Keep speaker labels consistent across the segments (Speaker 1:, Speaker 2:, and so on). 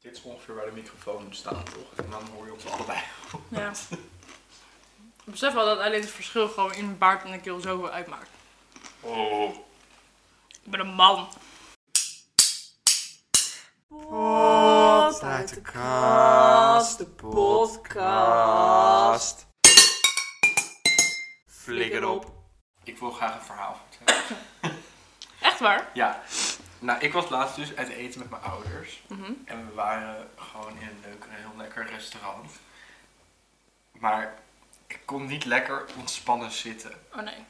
Speaker 1: Dit is ongeveer waar de microfoon staat, toch? En dan hoor je ons allebei.
Speaker 2: Ja. Ik besef wel dat alleen het verschil gewoon in mijn baard en de keel zoveel uitmaakt.
Speaker 1: Oh.
Speaker 2: Ik ben een man.
Speaker 3: Pot uit de kast, de podcast. Flikker op.
Speaker 1: Ik wil graag een verhaal vertellen.
Speaker 2: Echt waar?
Speaker 1: Ja. Nou, ik was laatst dus uit eten met mijn ouders.
Speaker 2: Mhm.
Speaker 1: En we waren gewoon in een leuk, een heel lekker restaurant. Maar ik kon niet lekker ontspannen zitten.
Speaker 2: Oh nee.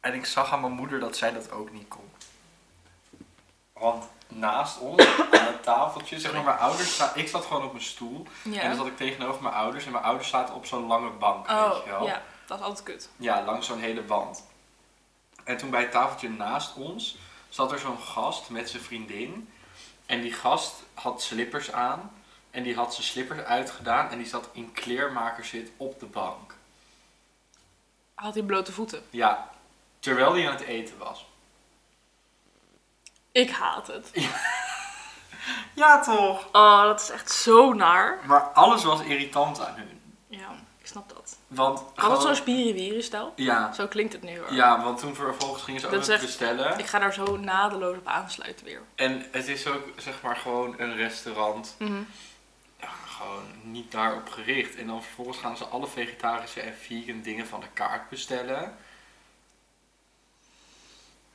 Speaker 1: En ik zag aan mijn moeder dat zij dat ook niet kon. Want naast ons, aan het tafeltje, zeg maar, mijn ouders sta- Ik zat gewoon op mijn stoel. En dan
Speaker 2: Ja.
Speaker 1: zat ik tegenover mijn ouders. En mijn ouders zaten op zo'n lange bank, weet
Speaker 2: Oh,
Speaker 1: je wel.
Speaker 2: ja. Dat is altijd kut.
Speaker 1: Ja, langs zo'n hele wand. En toen bij het tafeltje naast ons zat er zo'n gast met zijn vriendin. En die gast had slippers aan. En die had zijn slippers uitgedaan. En die zat in kleermakerszit op de bank.
Speaker 2: Had hij blote voeten.
Speaker 1: Ja, terwijl hij aan het eten was.
Speaker 2: Ik haat het.
Speaker 1: Ja, toch?
Speaker 2: Oh, dat is echt zo naar.
Speaker 1: Maar alles was irritant aan hun.
Speaker 2: Ja, ik snap dat.
Speaker 1: Want
Speaker 2: Altijd
Speaker 1: gewoon-
Speaker 2: zo'n spiriwiri-stijl.
Speaker 1: ja,
Speaker 2: Zo klinkt het nu hoor.
Speaker 1: ja, want toen vervolgens gingen ze ook
Speaker 2: Dat
Speaker 1: nog
Speaker 2: is echt-
Speaker 1: bestellen.
Speaker 2: Ik ga daar zo nadeloos op aansluiten weer.
Speaker 1: En het is ook zeg maar gewoon een restaurant
Speaker 2: Mhm.
Speaker 1: ja, gewoon niet daarop gericht. En dan vervolgens gaan ze alle vegetarische en vegan dingen van de kaart bestellen.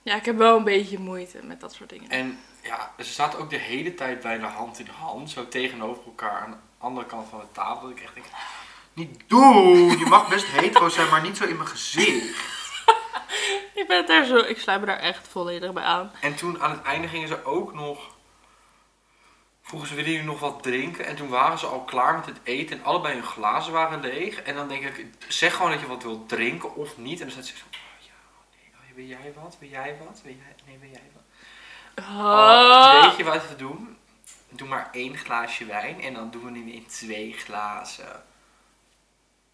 Speaker 2: Ja, ik heb wel een beetje moeite met dat soort dingen.
Speaker 1: En ja, ze zaten ook de hele tijd bijna hand in hand, zo tegenover elkaar aan de andere kant van de tafel. Dat ik echt denk, niet doen! Je mag best hetero zijn, maar niet zo in mijn gezicht.
Speaker 2: Ik ben het daar zo... Ik sluit me daar echt volledig bij aan.
Speaker 1: En toen aan het einde gingen ze ook nog... Vroegen ze, willen jullie nog wat drinken? En toen waren ze al klaar met het eten en allebei hun glazen waren leeg. En dan denk ik, zeg gewoon dat je wat wilt drinken of niet. En dan zat ze zo, oh ja, oh nee, oh, wil jij wat? Wil jij wat? Wil jij, nee, wil jij wat? Oh,
Speaker 2: Ah.
Speaker 1: weet je wat we doen? Doe maar één glaasje wijn en dan doen we hem in twee glazen.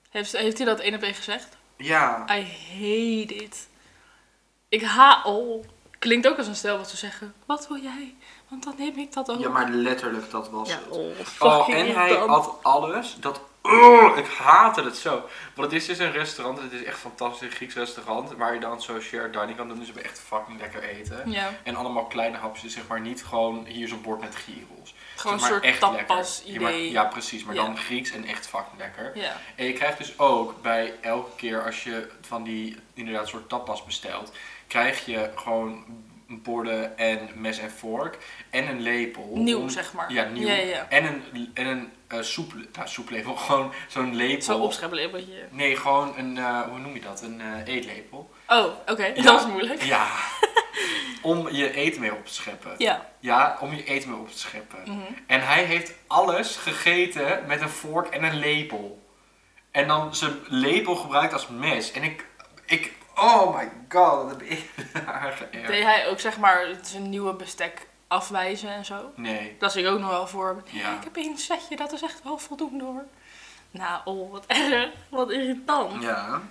Speaker 2: Heeft, heeft hij dat één op één gezegd?
Speaker 1: Ja,
Speaker 2: I hate it. Ik ha... Oh. Klinkt ook als een stel wat ze zeggen. Wat wil jij? Want dan neem ik dat ook.
Speaker 1: ja maar letterlijk dat was
Speaker 2: Ja,
Speaker 1: het.
Speaker 2: oh,
Speaker 1: Oh,
Speaker 2: fucking
Speaker 1: en hij
Speaker 2: irritant.
Speaker 1: had alles. Dat, Ugh, ik haatte het zo. Want het is dus een restaurant. Het is echt fantastisch. Een Grieks restaurant. Waar je dan zo shared dining kan doen. Dus we echt fucking lekker eten.
Speaker 2: Ja,
Speaker 1: En allemaal kleine hapjes. dus Zeg maar niet gewoon hier zo'n bord met gyros.
Speaker 2: gewoon
Speaker 1: Zeg
Speaker 2: een
Speaker 1: maar
Speaker 2: soort
Speaker 1: echt lekker. Ja, maar-
Speaker 2: tapas-idee.
Speaker 1: Ja, precies. Maar
Speaker 2: Ja.
Speaker 1: dan Grieks en echt fucking lekker.
Speaker 2: ja.
Speaker 1: En je krijgt dus ook bij elke keer als je van die inderdaad soort tapas bestelt, krijg je gewoon borden en mes en vork en een lepel.
Speaker 2: Nieuw,
Speaker 1: om-
Speaker 2: zeg maar.
Speaker 1: Ja, nieuw.
Speaker 2: Ja, ja.
Speaker 1: En een, en een eh, soep, nou, soeplepel, gewoon zo'n lepel.
Speaker 2: Zo'n opschrijflepeltje.
Speaker 1: Nee, gewoon een, eh, hoe noem je dat? Een eh, eetlepel.
Speaker 2: Oh, oké.
Speaker 1: Ja.
Speaker 2: Dat is moeilijk.
Speaker 1: Ja. om je eten mee op te scheppen.
Speaker 2: Ja.
Speaker 1: Ja, om je eten mee op te scheppen.
Speaker 2: Mhm.
Speaker 1: En hij heeft alles gegeten met een vork en een lepel. En dan zijn lepel gebruikt als mes. En ik, ik oh my god, dat heb ik haar geërgerd.
Speaker 2: Deed hij ook zeg maar het is een nieuwe bestek afwijzen en zo?
Speaker 1: Nee,
Speaker 2: Dat zie ik ook nog wel voor.
Speaker 1: ja.
Speaker 2: Ik heb één setje, dat is echt wel voldoende hoor. Nou, oh, wat erg. Wat irritant.
Speaker 1: Ja.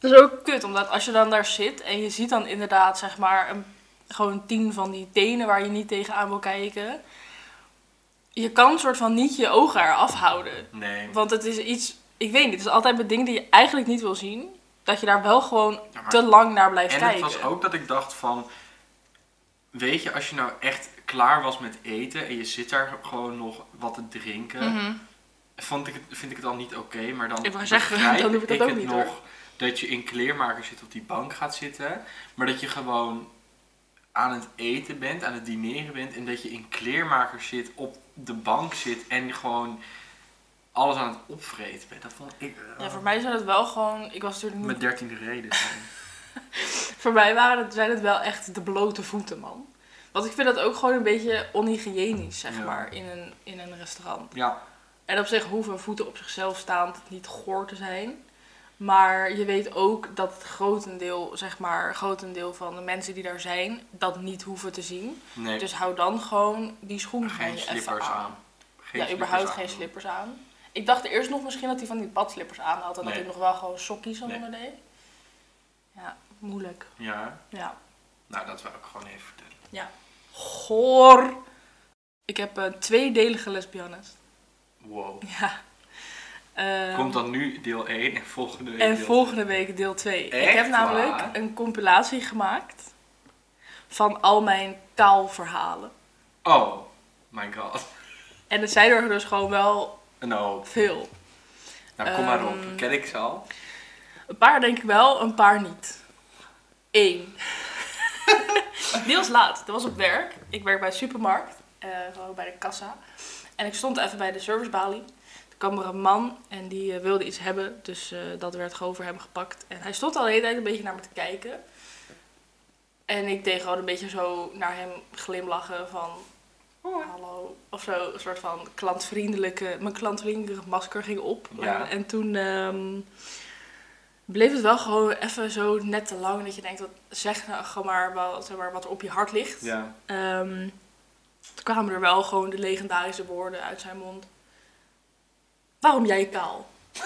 Speaker 2: Het is ook kut, omdat als je dan daar zit en je ziet dan inderdaad zeg maar een, gewoon tien van die tenen waar je niet tegenaan wil kijken. Je kan soort van niet je ogen eraf houden.
Speaker 1: Nee.
Speaker 2: Want het is iets, ik weet niet, het is altijd met dingen die je eigenlijk niet wil zien. Dat je daar wel gewoon
Speaker 1: Ja, maar-
Speaker 2: te lang naar blijft
Speaker 1: En het
Speaker 2: kijken.
Speaker 1: was ook dat ik dacht van, weet je, als je nou echt klaar was met eten en je zit daar gewoon nog wat te drinken,
Speaker 2: Mhm.
Speaker 1: vond ik het, vind ik het al niet oké, maar dan
Speaker 2: Ik wou zeggen,
Speaker 1: begrijp
Speaker 2: dan doe ik dat ook
Speaker 1: het
Speaker 2: niet,
Speaker 1: nog
Speaker 2: hoor.
Speaker 1: dat je in kleermaker zit op die bank gaat zitten, maar dat je gewoon aan het eten bent, aan het dineren bent en dat je in kleermaker zit, op de bank zit en gewoon alles aan het opvreten bent. Dat vond ik
Speaker 2: Ja, voor mij zijn het wel gewoon, ik was natuurlijk niet
Speaker 1: met dertiende reden. zijn.
Speaker 2: Voor mij waren het, zijn het wel echt de blote voeten, man. Want ik vind dat ook gewoon een beetje onhygiënisch, zeg
Speaker 1: Ja.
Speaker 2: maar, in een, in een restaurant.
Speaker 1: ja,
Speaker 2: En op zich hoeven voeten op zichzelf staand niet goor te zijn. Maar je weet ook dat het grotendeel, zeg maar, grotendeel van de mensen die daar zijn, dat niet hoeven te zien.
Speaker 1: nee,
Speaker 2: Dus hou dan gewoon die schoenen van
Speaker 1: geen
Speaker 2: je even
Speaker 1: slippers aan. Geen
Speaker 2: ja,
Speaker 1: slippers
Speaker 2: überhaupt
Speaker 1: aan
Speaker 2: geen
Speaker 1: doen.
Speaker 2: slippers aan. Ik dacht eerst nog misschien dat hij van die badslippers aan had en
Speaker 1: Nee.
Speaker 2: dat hij nog wel gewoon sokjes aan
Speaker 1: Nee.
Speaker 2: onderdeed. Ja, moeilijk.
Speaker 1: Ja,
Speaker 2: Ja.
Speaker 1: nou dat wil ik gewoon even vertellen.
Speaker 2: Goor. Ik heb een tweedelige lesbiennes.
Speaker 1: Wow.
Speaker 2: Ja. Ehm,
Speaker 1: Komt dan nu deel 1 en volgende week
Speaker 2: en
Speaker 1: deel
Speaker 2: volgende week deel 2. Ik
Speaker 1: Echt
Speaker 2: heb namelijk
Speaker 1: waar?
Speaker 2: een compilatie gemaakt van al mijn kaalverhalen.
Speaker 1: twee. Oh, my god.
Speaker 2: En het zijn er dus gewoon wel
Speaker 1: Een hoop.
Speaker 2: veel.
Speaker 1: Nou, kom maar op.
Speaker 2: Ehm,
Speaker 1: Ken ik ze al?
Speaker 2: Een paar denk ik wel, een paar niet. Eén. Deels laat. Dat was op werk. Ik werk bij de supermarkt. eh, gewoon bij de kassa. En ik stond even bij de servicebalie. Toen kwam er een man en die eh, wilde iets hebben. Dus eh, dat werd gewoon voor hem gepakt. En hij stond al de hele tijd een beetje naar me te kijken. En ik deed gewoon een beetje zo naar hem glimlachen van... Hallo. Of zo, een soort van klantvriendelijke... Mijn klantvriendelijke masker ging op.
Speaker 1: Ja.
Speaker 2: En, en toen... ehm, bleef het wel gewoon even zo net te lang dat je denkt, wat, zeg nou gewoon maar, wat, zeg maar wat er op je hart ligt.
Speaker 1: Ja.
Speaker 2: Ehm, toen kwamen er wel gewoon de legendarische woorden uit zijn mond. Waarom jij kaal?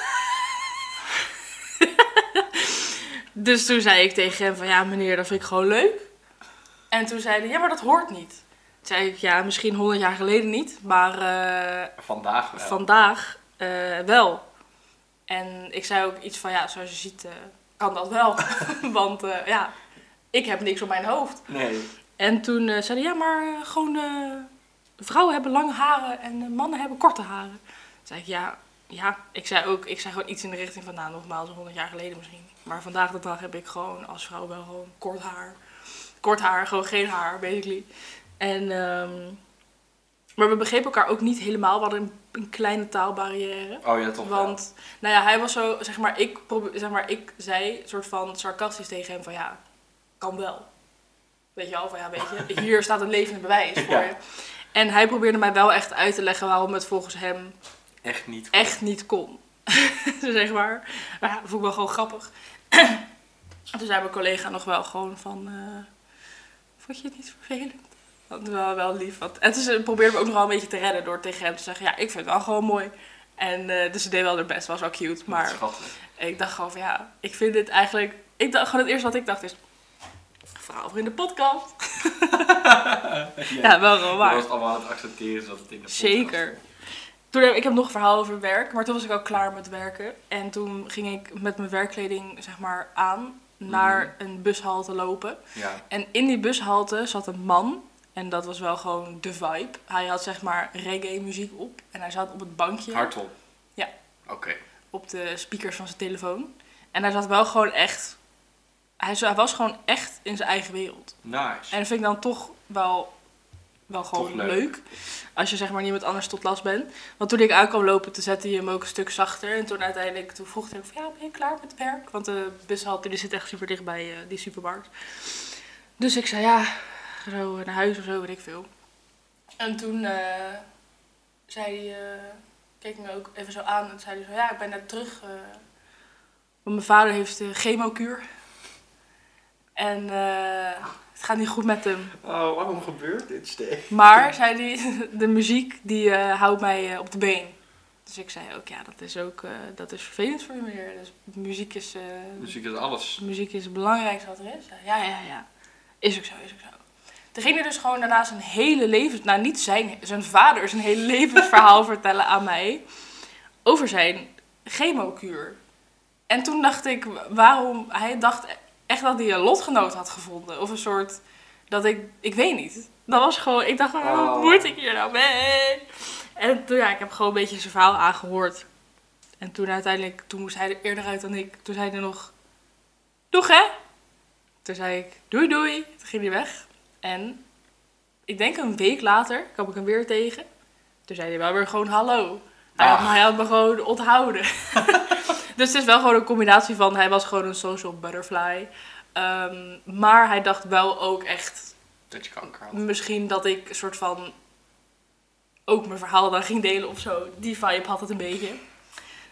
Speaker 2: dus toen zei ik tegen hem van ja meneer, dat vind ik gewoon leuk. En toen zei hij, ja maar dat hoort niet. Toen zei ik, ja misschien honderd jaar geleden niet, maar eh,
Speaker 1: Vandaag wel.
Speaker 2: vandaag eh, wel. En ik zei ook iets van, ja, zoals je ziet eh, kan dat wel. Want eh, ja, ik heb niks op mijn hoofd.
Speaker 1: Nee.
Speaker 2: En toen eh, zei hij, ja, maar eh, gewoon eh, vrouwen hebben lange haren en eh, mannen hebben korte haren. Toen zei ik, ja, ja. Ik zei ook, ik zei gewoon iets in de richting van, nou, nogmaals, 100 jaar geleden misschien. Maar vandaag de dag heb ik gewoon als vrouw wel gewoon kort haar. Kort haar, gewoon geen haar, basically. En, ehm, maar we begrepen elkaar ook niet helemaal. We hadden een- een kleine taalbarrière.
Speaker 1: Oh ja, toch wel.
Speaker 2: Want, nou ja, hij was zo, zeg maar, ik, probe- zeg maar, ik zei soort van sarcastisch tegen hem van ja, kan wel. Weet je wel, van ja, weet je, hier staat een levend bewijs voor
Speaker 1: Ja.
Speaker 2: je. En hij probeerde mij wel echt uit te leggen waarom het volgens hem
Speaker 1: Echt niet.
Speaker 2: echt niet kon. zeg maar. Maar ja, dat vond ik wel gewoon grappig. En toen zei mijn collega nog wel gewoon van... eh, vond je het niet vervelend? Dat was wel, wel lief. Want, en toen ze probeerde me ook nog wel een beetje te redden door tegen hem te zeggen... Ja, ik vind het wel gewoon mooi. En eh, dus ze deed wel haar best. was wel cute. Maar
Speaker 1: Schattig.
Speaker 2: ik dacht gewoon van ja, ik vind dit eigenlijk... Ik dacht gewoon het eerste wat ik dacht is... Verhaal voor in de podcast. Ja, wel gewoon
Speaker 1: Je
Speaker 2: waar.
Speaker 1: was allemaal aan het accepteren zodat het in de podcast
Speaker 2: Zeker. Toen heb, ik heb nog een verhaal over werk, maar toen was ik al klaar met werken. En toen ging ik met mijn werkkleding zeg maar, aan naar een bushalte lopen.
Speaker 1: Ja.
Speaker 2: En in die bushalte zat een man. En dat was wel gewoon de vibe. Hij had zeg maar reggae muziek op. En hij zat op het bankje
Speaker 1: Hardop.
Speaker 2: Ja.
Speaker 1: Oké.
Speaker 2: op de speakers van zijn telefoon. En hij zat wel gewoon echt... Hij zo- hij was gewoon echt in zijn eigen wereld.
Speaker 1: Nice.
Speaker 2: En dat vind ik dan toch wel, wel gewoon
Speaker 1: Toch
Speaker 2: leuk.
Speaker 1: leuk.
Speaker 2: Als je zeg maar niemand anders tot last bent. Want toen ik aan kwam lopen, toen zette hij hem ook een stuk zachter. En toen uiteindelijk toen vroeg hij ook van ja, ben je klaar met werk? Want de bushalte die zit echt super dicht bij eh, die supermarkt. Dus ik zei ja, zo naar huis of zo, weet ik veel. En toen eh, zei hij, eh, keek me ook even zo aan en zei hij zo ja, ik ben net terug. eh, want mijn vader heeft eh chemokuur. En eh, het gaat niet goed met hem.
Speaker 1: Oh, waarom gebeurt dit steeds?
Speaker 2: Maar, zei hij, de muziek die eh, houdt mij eh, op de been. Dus ik zei ook, ja, dat is ook eh, dat is vervelend voor je meneer. Dus muziek is, eh, dus
Speaker 1: Muziek is Dus alles.
Speaker 2: muziek is het belangrijkste wat er is. Ja, ja, ja. Is ook zo, is ook zo. Toen ging er dus gewoon daarna zijn hele leven, nou niet zijn, zijn vader zijn hele levensverhaal vertellen aan mij. Over zijn chemokuur. En toen dacht ik, waarom, hij dacht echt dat hij een lotgenoot had gevonden. Of een soort, dat ik, ik weet niet. Dat was gewoon, ik dacht, waarom
Speaker 1: Oh.
Speaker 2: moet ik hier nou mee? En toen, ja, ik heb gewoon een beetje zijn verhaal aangehoord. En toen uiteindelijk, toen moest hij er eerder uit dan ik. Toen zei hij nog, doeg hè? Toen zei ik, doei doei. Toen ging hij weg. En ik denk een week later kwam ik hem weer tegen. Toen zei hij wel weer gewoon hallo. Hij had,
Speaker 1: Ah.
Speaker 2: hij had me gewoon onthouden. dus het is wel gewoon een combinatie van, hij was gewoon een social butterfly. Ehm, maar hij dacht wel ook echt,
Speaker 1: Dat je kanker had.
Speaker 2: misschien dat ik een soort van ook mijn verhaal dan ging delen of zo. Die vibe had het een beetje.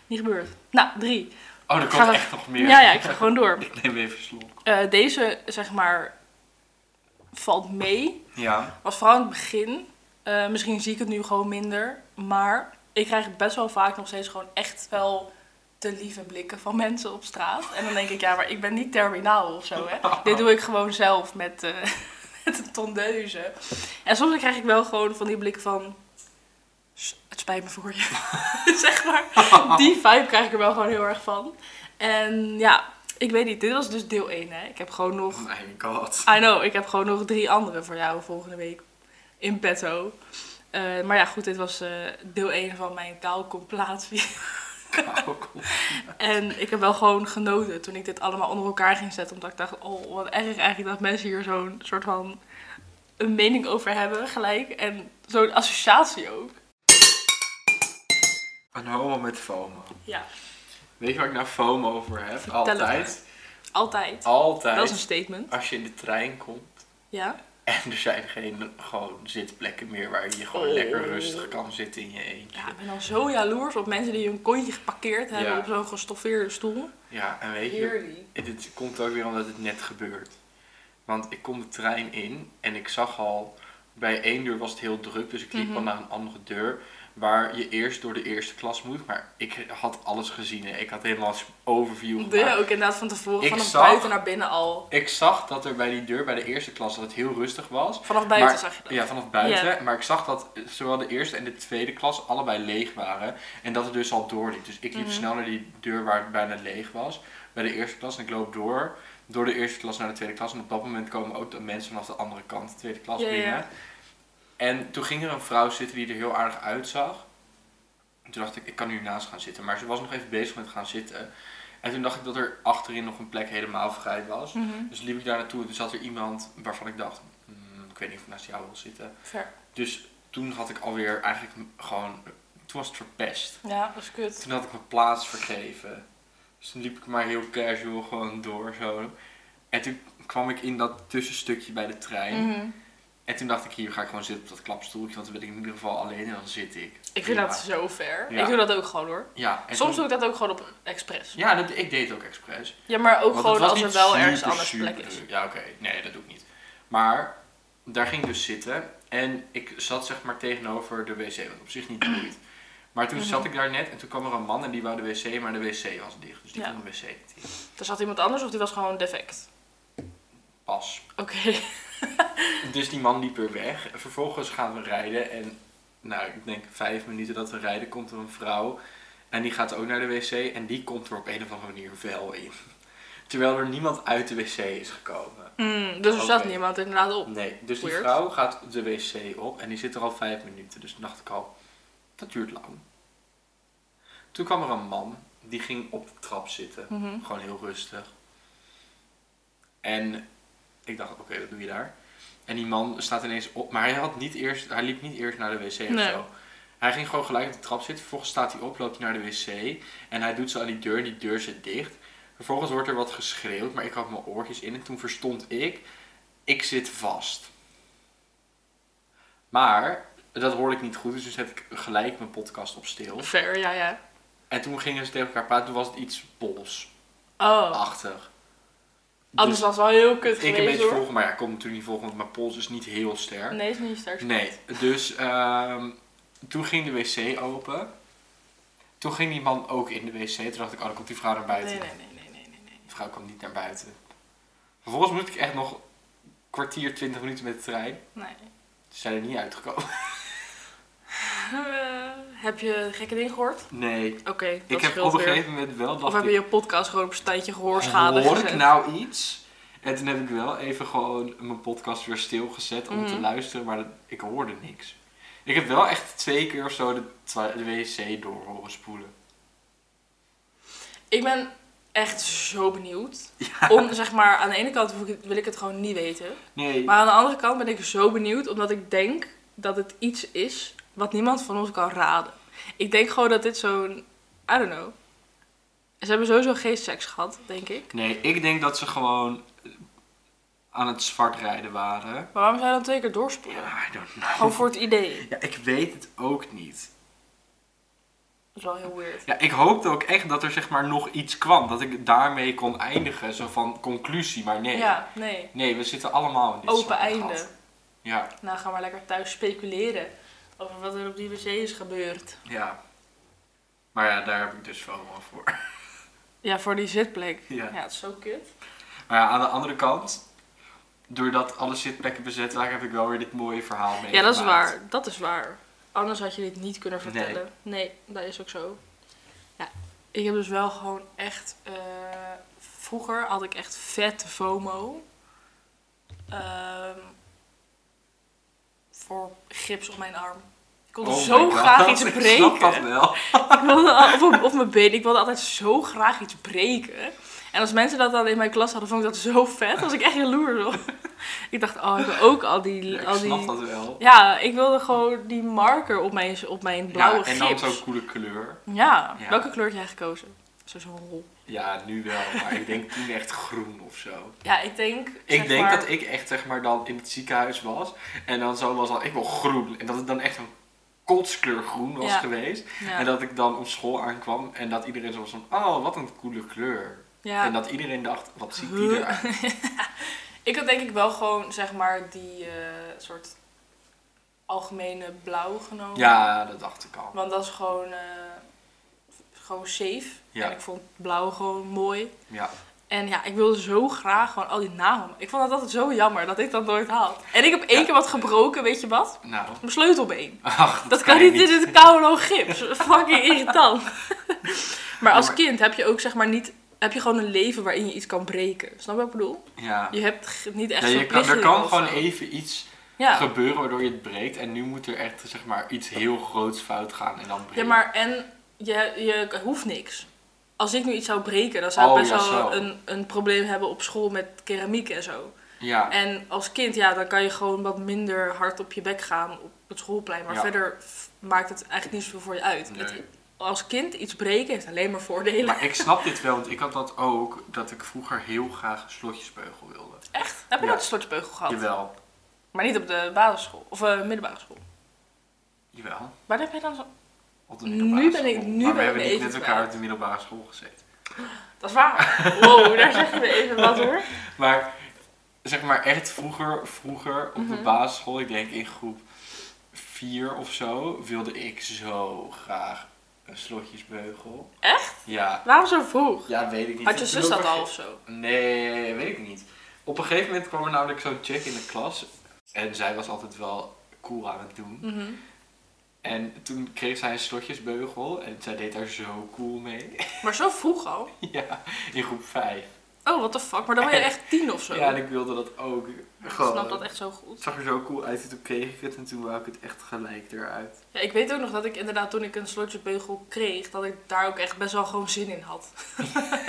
Speaker 2: Niet gebeurd. Nou, drie.
Speaker 1: Oh, er
Speaker 2: Ik ga-
Speaker 1: komt echt nog meer.
Speaker 2: Ja, ja, ik ga gewoon door.
Speaker 1: Ik neem even een slok.
Speaker 2: Eh, deze, zeg maar, valt mee.
Speaker 1: Ja.
Speaker 2: Was vooral in het begin. Eh, misschien zie ik het nu gewoon minder. Maar ik krijg best wel vaak nog steeds gewoon echt wel te lieve blikken van mensen op straat. En dan denk ik, ja, maar ik ben niet terminaal of zo, hè. Dit doe ik gewoon zelf met, eh, met een tondeuze. En soms dan krijg ik wel gewoon van die blik van... "S- Het spijt me voor je. zeg maar. Die vibe krijg ik er wel gewoon heel erg van. En ja, ik weet niet. Dit was dus deel 1, hè. Ik heb gewoon nog...
Speaker 1: Oh mijn god.
Speaker 2: I know, ik heb gewoon nog drie andere voor jou volgende week in petto. Eh, maar ja, goed, dit was eh, deel 1 van mijn kaalcomplatie. en ik heb wel gewoon genoten toen ik dit allemaal onder elkaar ging zetten. Omdat ik dacht, oh, wat erg eigenlijk dat mensen hier zo'n soort van een mening over hebben gelijk. En zo'n associatie ook.
Speaker 1: Een homo met FOMO.
Speaker 2: Ja,
Speaker 1: Weet je waar ik nou FOMO over heb?
Speaker 2: Vertel het
Speaker 1: Altijd.
Speaker 2: altijd.
Speaker 1: Altijd.
Speaker 2: Dat is een statement.
Speaker 1: Als je in de trein komt
Speaker 2: Ja.
Speaker 1: en er zijn geen gewoon zitplekken meer waar je gewoon
Speaker 2: Oh.
Speaker 1: lekker rustig kan zitten in je eentje.
Speaker 2: ja, ik ben dan zo jaloers op mensen die hun kontje geparkeerd hebben
Speaker 1: Ja.
Speaker 2: op zo'n gestoffeerde stoel.
Speaker 1: Ja, en weet je,
Speaker 2: Heerlijk.
Speaker 1: dit komt ook weer omdat het net gebeurt. Want ik kom de trein in en ik zag al, bij één deur was het heel druk, dus ik liep
Speaker 2: Mhm.
Speaker 1: al naar een andere deur. Waar je eerst door de eerste klas moet, maar ik had alles gezien. hè. Ik had helemaal een overview
Speaker 2: Doe je
Speaker 1: gemaakt.
Speaker 2: ook inderdaad van tevoren,
Speaker 1: Ik
Speaker 2: vanaf
Speaker 1: zag-
Speaker 2: buiten naar binnen al.
Speaker 1: Ik zag dat er bij die deur, bij de eerste klas, dat het heel rustig was.
Speaker 2: Vanaf buiten
Speaker 1: Maar-
Speaker 2: zag je dat.
Speaker 1: Ja, vanaf buiten. Maar ik zag dat zowel de eerste en de tweede klas allebei leeg waren. En dat het dus al doorliep. Dus ik liep
Speaker 2: Mhm.
Speaker 1: snel naar die deur waar het bijna leeg was. Bij de eerste klas. En ik loop door. Door de eerste klas naar de tweede klas. En op dat moment komen ook de mensen vanaf de andere kant de tweede klas
Speaker 2: Ja, ja.
Speaker 1: binnen. En toen ging er een vrouw zitten die er heel aardig uitzag. En toen dacht ik, ik kan hiernaast gaan zitten. Maar ze was nog even bezig met gaan zitten. En toen dacht ik dat er achterin nog een plek helemaal vrij was.
Speaker 2: Mhm.
Speaker 1: Dus liep ik daar naartoe en toen zat er iemand waarvan ik dacht, "Hmm, ik weet niet of ik naast jou wil zitten.
Speaker 2: Ver.
Speaker 1: Dus toen had ik alweer eigenlijk m- gewoon, toen was het verpest.
Speaker 2: Ja, dat is kut.
Speaker 1: Toen had ik mijn plaats vergeven. Dus toen liep ik maar heel casual gewoon door zo. En toen kwam ik in dat tussenstukje bij de trein.
Speaker 2: Mhm.
Speaker 1: En toen dacht ik, hier ga ik gewoon zitten op dat klapstoeltje, want dan ben ik in ieder geval alleen en dan zit ik.
Speaker 2: Ik vind
Speaker 1: Ja.
Speaker 2: dat zo ver.
Speaker 1: Ja.
Speaker 2: Ik doe dat ook gewoon hoor.
Speaker 1: Ja, en
Speaker 2: Soms
Speaker 1: toen-
Speaker 2: doe ik dat ook gewoon op expres.
Speaker 1: Ja, dat, ik deed het ook expres.
Speaker 2: Ja, maar ook
Speaker 1: Want het
Speaker 2: gewoon
Speaker 1: was
Speaker 2: als er
Speaker 1: niet
Speaker 2: wel
Speaker 1: super,
Speaker 2: ergens anders
Speaker 1: super
Speaker 2: plek is.
Speaker 1: druk. Ja, oké. Nee, dat doe ik niet. Maar daar ging ik dus zitten. En ik zat zeg maar tegenover de wc, wat op zich niet boeit. Maar
Speaker 2: Mhm.
Speaker 1: toen zat ik daar net en toen kwam er een man en die wou de wc, maar de wc was dicht. Dus die
Speaker 2: Ja.
Speaker 1: kon de wc niet in.
Speaker 2: Er zat iemand anders of die was gewoon defect.
Speaker 1: Pas.
Speaker 2: Oké.
Speaker 1: Dus die man liep weer weg. En Vervolgens gaan we rijden en nou, ik denk vijf minuten dat we rijden komt er een vrouw. En die gaat ook naar de wc en die komt er op een of andere manier wel in. Terwijl er niemand uit de wc is gekomen.
Speaker 2: Mm, dus er zat
Speaker 1: Oké.
Speaker 2: niemand inderdaad op.
Speaker 1: Nee, dus die
Speaker 2: Weird.
Speaker 1: vrouw gaat de wc op en die zit er al vijf minuten. Dus toen dacht ik al, dat duurt lang. Toen kwam er een man, die ging op de trap zitten.
Speaker 2: Mhm.
Speaker 1: Gewoon heel rustig. En ik dacht, oké, wat doe je daar? En die man staat ineens op, maar hij, had niet eerst, hij liep niet eerst naar de wc of
Speaker 2: Nee.
Speaker 1: zo. Hij ging gewoon gelijk op de trap zitten. Vervolgens staat hij op, loopt hij naar de wc. En hij doet zo aan die deur en die deur zit dicht. Vervolgens wordt er wat geschreeuwd, maar ik had mijn oortjes in. En toen verstond ik, ik zit vast. Maar, dat hoorde ik niet goed, dus toen zet ik gelijk mijn podcast op stil.
Speaker 2: Ver, ja, ja.
Speaker 1: En toen gingen ze tegen elkaar praten, toen was het iets bols-achtig.
Speaker 2: Oh, anders was het wel heel kut
Speaker 1: Dus ik een
Speaker 2: geweest
Speaker 1: beetje
Speaker 2: hoor.
Speaker 1: volgen, maar ja, ik kon natuurlijk niet volgen, want mijn pols is niet heel sterk.
Speaker 2: Nee, is niet sterk.
Speaker 1: Nee, dus ehm, toen ging de wc open. Toen ging die man ook in de wc. Toen dacht ik, oh, dan komt die vrouw naar
Speaker 2: Nee,
Speaker 1: buiten.
Speaker 2: nee, nee, nee, nee, nee. nee.
Speaker 1: De vrouw kwam niet naar buiten. Vervolgens moest ik echt nog een kwartier, twintig minuten met de trein.
Speaker 2: nee.
Speaker 1: Ze zijn er niet uitgekomen.
Speaker 2: Eh, heb je gekke dingen gehoord?
Speaker 1: Nee.
Speaker 2: Oké, dat
Speaker 1: ik heb
Speaker 2: scheelt
Speaker 1: op een
Speaker 2: weer.
Speaker 1: gegeven moment wel
Speaker 2: Of
Speaker 1: dat
Speaker 2: heb je
Speaker 1: ik...
Speaker 2: je podcast gewoon op een tijdje gehoorschade
Speaker 1: Hoor ik
Speaker 2: gezet?
Speaker 1: nou iets? En toen heb ik wel even gewoon mijn podcast weer stilgezet om te
Speaker 2: Mhm.
Speaker 1: luisteren, maar dat- ik hoorde niks. Ik heb wel echt twee keer of zo de, twa- de wc door horen spoelen.
Speaker 2: Ik ben echt zo benieuwd. Om, zeg maar, aan de ene kant wil ik, wil ik het gewoon niet weten.
Speaker 1: Nee.
Speaker 2: Maar aan de andere kant ben ik zo benieuwd, omdat ik denk dat het iets is wat niemand van ons kan raden. Ik denk gewoon dat dit zo'n, I don't know. Ze hebben sowieso geestseks gehad, denk ik.
Speaker 1: Nee, ik denk dat ze gewoon eh, aan het zwart rijden waren.
Speaker 2: Maar waarom zou je dan twee keer doorspoelen?
Speaker 1: Ja, I don't know.
Speaker 2: Gewoon voor het idee.
Speaker 1: Ja, ik weet het ook niet.
Speaker 2: Dat is wel heel weird.
Speaker 1: Ja, ik hoopte ook echt dat er zeg maar nog iets kwam. Dat ik daarmee kon eindigen. Zo van conclusie, maar nee.
Speaker 2: Ja, nee.
Speaker 1: Nee, we zitten allemaal in dit
Speaker 2: Open
Speaker 1: zwarte
Speaker 2: einde.
Speaker 1: gat. Ja,
Speaker 2: Nou, ga maar lekker thuis speculeren over wat er op die wc is gebeurd.
Speaker 1: ja. Maar ja, daar heb ik dus wel wel voor.
Speaker 2: Ja, voor die zitplek.
Speaker 1: Ja.
Speaker 2: Ja, het is zo kut.
Speaker 1: Maar ja, aan de andere kant... doordat alle zitplekken bezet waren, heb ik wel weer dit mooie verhaal mee.
Speaker 2: Ja, dat is waar. Dat is waar. Anders had je dit niet kunnen vertellen. Nee, dat is ook zo. Ja, ik heb dus wel gewoon echt... eh, vroeger had ik echt vette FOMO. Ehm, voor gips op mijn arm. Ik wilde zo graag iets breken.
Speaker 1: Oh Ik snap dat wel.
Speaker 2: Ik wilde al- of, op, of mijn been. Ik wilde altijd zo graag iets breken. En als mensen dat dan in mijn klas hadden, vond ik dat zo vet. Dan was ik echt jaloers op. Ik dacht, oh, ik wil ook al die...
Speaker 1: Ja, ik
Speaker 2: al die...
Speaker 1: snap dat wel.
Speaker 2: Ja, ik wilde gewoon die marker op mijn, op mijn blauwe
Speaker 1: Ja, en dan
Speaker 2: gips.
Speaker 1: zo'n coole kleur.
Speaker 2: Ja.
Speaker 1: Ja.
Speaker 2: welke kleur had jij gekozen? Zo- Zo'n rol.
Speaker 1: Ja, nu wel, maar ik denk toen echt groen of zo.
Speaker 2: Ja, ik denk...
Speaker 1: Ik denk dat ik echt zeg maar dan in het ziekenhuis was en dan zo was al, ik wil groen. En dat het dan echt een kotskleur groen was
Speaker 2: Ja.
Speaker 1: geweest.
Speaker 2: Ja,
Speaker 1: En dat ik dan op school aankwam en dat iedereen zo was van, oh wat een coole kleur.
Speaker 2: ja.
Speaker 1: En dat iedereen dacht, wat ziet die
Speaker 2: Huh?
Speaker 1: eruit?
Speaker 2: ik had denk ik wel gewoon, zeg maar, die eh, soort algemene blauw genomen.
Speaker 1: Ja, dat dacht ik al.
Speaker 2: Want dat is gewoon, eh, gewoon safe.
Speaker 1: Ja.
Speaker 2: En ik vond blauw gewoon mooi.
Speaker 1: Ja.
Speaker 2: En ja, ik wilde zo graag gewoon al die namen. Ik vond dat altijd zo jammer dat ik dat nooit had. En ik heb één
Speaker 1: Ja.
Speaker 2: keer wat gebroken, weet je wat?
Speaker 1: Nou,
Speaker 2: Mijn sleutelbeen.
Speaker 1: ach,
Speaker 2: Dat kan niet in het koude gips. Fucking irritant. maar als
Speaker 1: maar-
Speaker 2: kind heb je ook zeg maar niet... Heb je gewoon een leven waarin je iets kan breken. Snap je wat ik bedoel?
Speaker 1: Ja.
Speaker 2: Je hebt g- niet echt
Speaker 1: Ja, je kan, er
Speaker 2: verplichtingen
Speaker 1: kan
Speaker 2: of
Speaker 1: gewoon
Speaker 2: zo.
Speaker 1: even iets
Speaker 2: Ja.
Speaker 1: gebeuren waardoor je het breekt. En nu moet er echt zeg maar, iets heel groots fout gaan en dan breekt
Speaker 2: Ja, maar en je, je hoeft niks. Als ik nu iets zou breken, dan zou
Speaker 1: Oh,
Speaker 2: ik best
Speaker 1: ja,
Speaker 2: wel
Speaker 1: zo.
Speaker 2: een, een probleem hebben op school met keramiek en zo.
Speaker 1: Ja.
Speaker 2: En als kind, ja, dan kan je gewoon wat minder hard op je bek gaan op het schoolplein. Maar
Speaker 1: Ja.
Speaker 2: verder f- maakt het eigenlijk niet zoveel voor je uit.
Speaker 1: Nee.
Speaker 2: Het- als kind iets breken heeft alleen maar voordelen.
Speaker 1: Maar ik snap dit wel, want ik had dat ook, dat ik vroeger heel graag slotjesbeugel wilde.
Speaker 2: Echt? Heb je
Speaker 1: Ja.
Speaker 2: nooit een slotjesbeugel gehad?
Speaker 1: Jawel,
Speaker 2: Maar niet op de basisschool. Of eh, middelbare school.
Speaker 1: jawel.
Speaker 2: Waar heb jij dan zo...
Speaker 1: Op de
Speaker 2: Nu
Speaker 1: middelbare
Speaker 2: ben ik-
Speaker 1: school.
Speaker 2: nu
Speaker 1: maar we
Speaker 2: ben ik
Speaker 1: hebben
Speaker 2: me
Speaker 1: niet
Speaker 2: even
Speaker 1: met elkaar
Speaker 2: kwijt.
Speaker 1: op de middelbare school gezeten.
Speaker 2: Dat is waar. Wow, daar zeg je me even wat hoor.
Speaker 1: Maar zeg maar echt vroeger, vroeger op de
Speaker 2: Mhm.
Speaker 1: basisschool, ik denk in groep 4 of zo, wilde ik zo graag een slotjesbeugel.
Speaker 2: Echt?
Speaker 1: Ja,
Speaker 2: Waarom zo vroeg?
Speaker 1: ja weet ik niet.
Speaker 2: Had je
Speaker 1: Ik
Speaker 2: zus
Speaker 1: wil
Speaker 2: dat al
Speaker 1: verge-
Speaker 2: of zo?
Speaker 1: Nee, weet ik niet. Op een gegeven moment kwam er namelijk zo'n chick in de klas. En zij was altijd wel cool aan het doen.
Speaker 2: Mhm.
Speaker 1: En toen kreeg zij een slotjesbeugel. En zij deed daar zo cool mee.
Speaker 2: Maar zo vroeg al?
Speaker 1: ja, in groep 5.
Speaker 2: Oh, what the fuck. Maar dan ben je echt tien of zo.
Speaker 1: Ja, en ik wilde dat ook.
Speaker 2: ik
Speaker 1: Gewoon.
Speaker 2: snap dat echt zo goed.
Speaker 1: Het zag er zo cool uit. En toen kreeg ik het. En toen wou ik het echt gelijk eruit.
Speaker 2: Ja, ik weet ook nog dat ik inderdaad toen ik een slotjesbeugel kreeg, dat ik daar ook echt best wel gewoon zin in had.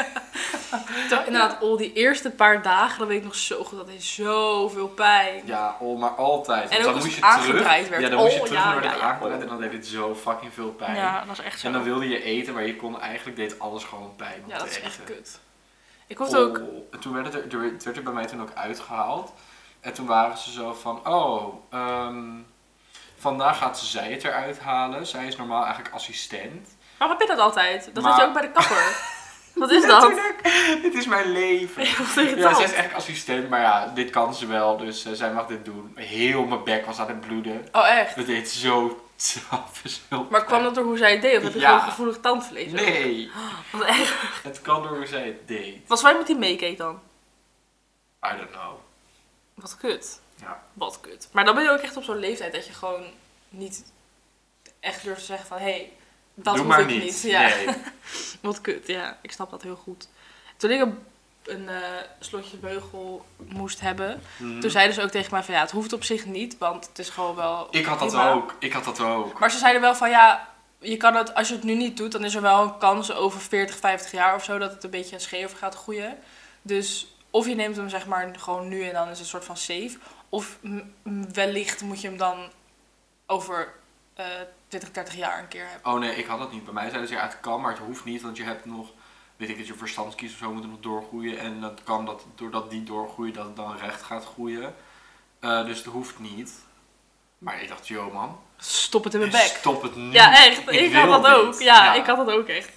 Speaker 2: Terwijl inderdaad, al die eerste paar dagen, dat weet ik nog zo goed, dat is zoveel pijn.
Speaker 1: Ja, oh, maar altijd.
Speaker 2: En
Speaker 1: Want
Speaker 2: ook
Speaker 1: dan
Speaker 2: als
Speaker 1: moest je
Speaker 2: het aangedraaid
Speaker 1: terug.
Speaker 2: werd.
Speaker 1: Ja, dan moest je
Speaker 2: Oh,
Speaker 1: terug
Speaker 2: ja,
Speaker 1: naar de
Speaker 2: ja, ja.
Speaker 1: aangedraaid. En dan deed het zo fucking veel pijn.
Speaker 2: Ja, dat is echt zo.
Speaker 1: En dan wilde je eten, maar je kon eigenlijk deed alles gewoon pijn. om
Speaker 2: ja,
Speaker 1: te
Speaker 2: dat is echt
Speaker 1: eten.
Speaker 2: kut. Ik hoefde ook...
Speaker 1: Oh, Toen werd het, er, er- het werd er bij mij toen ook uitgehaald. En toen waren ze zo van, oh, ehm, vandaag gaat zij het eruit halen. Zij is normaal eigenlijk assistent.
Speaker 2: Waarom heb je dat altijd? Dat
Speaker 1: Maar-
Speaker 2: had je ook bij de kapper. Wat is dat?
Speaker 1: Dit is mijn leven.
Speaker 2: Ik was tegen
Speaker 1: Ja,
Speaker 2: dat.
Speaker 1: zij is echt assistent, maar ja, dit kan ze wel. Dus eh, zij mag dit doen. Heel mijn bek was aan het bloeden.
Speaker 2: Oh, echt?
Speaker 1: Dat deed zo taf.
Speaker 2: Maar kwam dat door hoe zij het deed? Of heb je
Speaker 1: Ja.
Speaker 2: gewoon gevoelig tandvlees?
Speaker 1: Nee,
Speaker 2: Wat echt?
Speaker 1: het kan door hoe zij het deed.
Speaker 2: Was wij met die meekeek dan?
Speaker 1: I don't know.
Speaker 2: Wat kut.
Speaker 1: Ja.
Speaker 2: Wat kut. Maar dan ben je ook echt op zo'n leeftijd dat je gewoon niet echt durft te zeggen van... Hé, hey, dat
Speaker 1: Doe
Speaker 2: hoef
Speaker 1: maar
Speaker 2: ik niet.
Speaker 1: niet.
Speaker 2: Ja.
Speaker 1: Nee.
Speaker 2: Wat kut, ja. Ik snap dat heel goed. Toen ik een, een eh, slotje beugel moest hebben...
Speaker 1: Mhm.
Speaker 2: Toen zeiden ze ook tegen mij van... Ja, het hoeft op zich niet, want het is gewoon wel...
Speaker 1: Ik had dat
Speaker 2: prima.
Speaker 1: ook. Ik had dat ook.
Speaker 2: Maar ze zeiden wel van... Ja, je kan het, als je het nu niet doet, dan is er wel een kans over 40, 50 jaar of zo... dat het een beetje een scheef gaat groeien. Dus of je neemt hem zeg maar gewoon nu en dan is het een soort van safe... of m- m- wellicht moet je hem dan over eh 20, 30 jaar een keer hebben.
Speaker 1: Oh nee, ik had dat niet. Bij mij zeiden ze ja, het kan, maar het hoeft niet, want je hebt nog, weet ik het, je verstandskies of zo moeten nog doorgroeien. En dat kan dat, doordat die doorgroeien, dat het dan recht gaat groeien. Eh, dus het hoeft niet. Maar ik dacht, yo man,
Speaker 2: Stop het in mijn bek.
Speaker 1: stop het nu.
Speaker 2: Ja, echt. Ik, had
Speaker 1: wil
Speaker 2: dat
Speaker 1: dit.
Speaker 2: ook. Ja, ik had dat ook echt.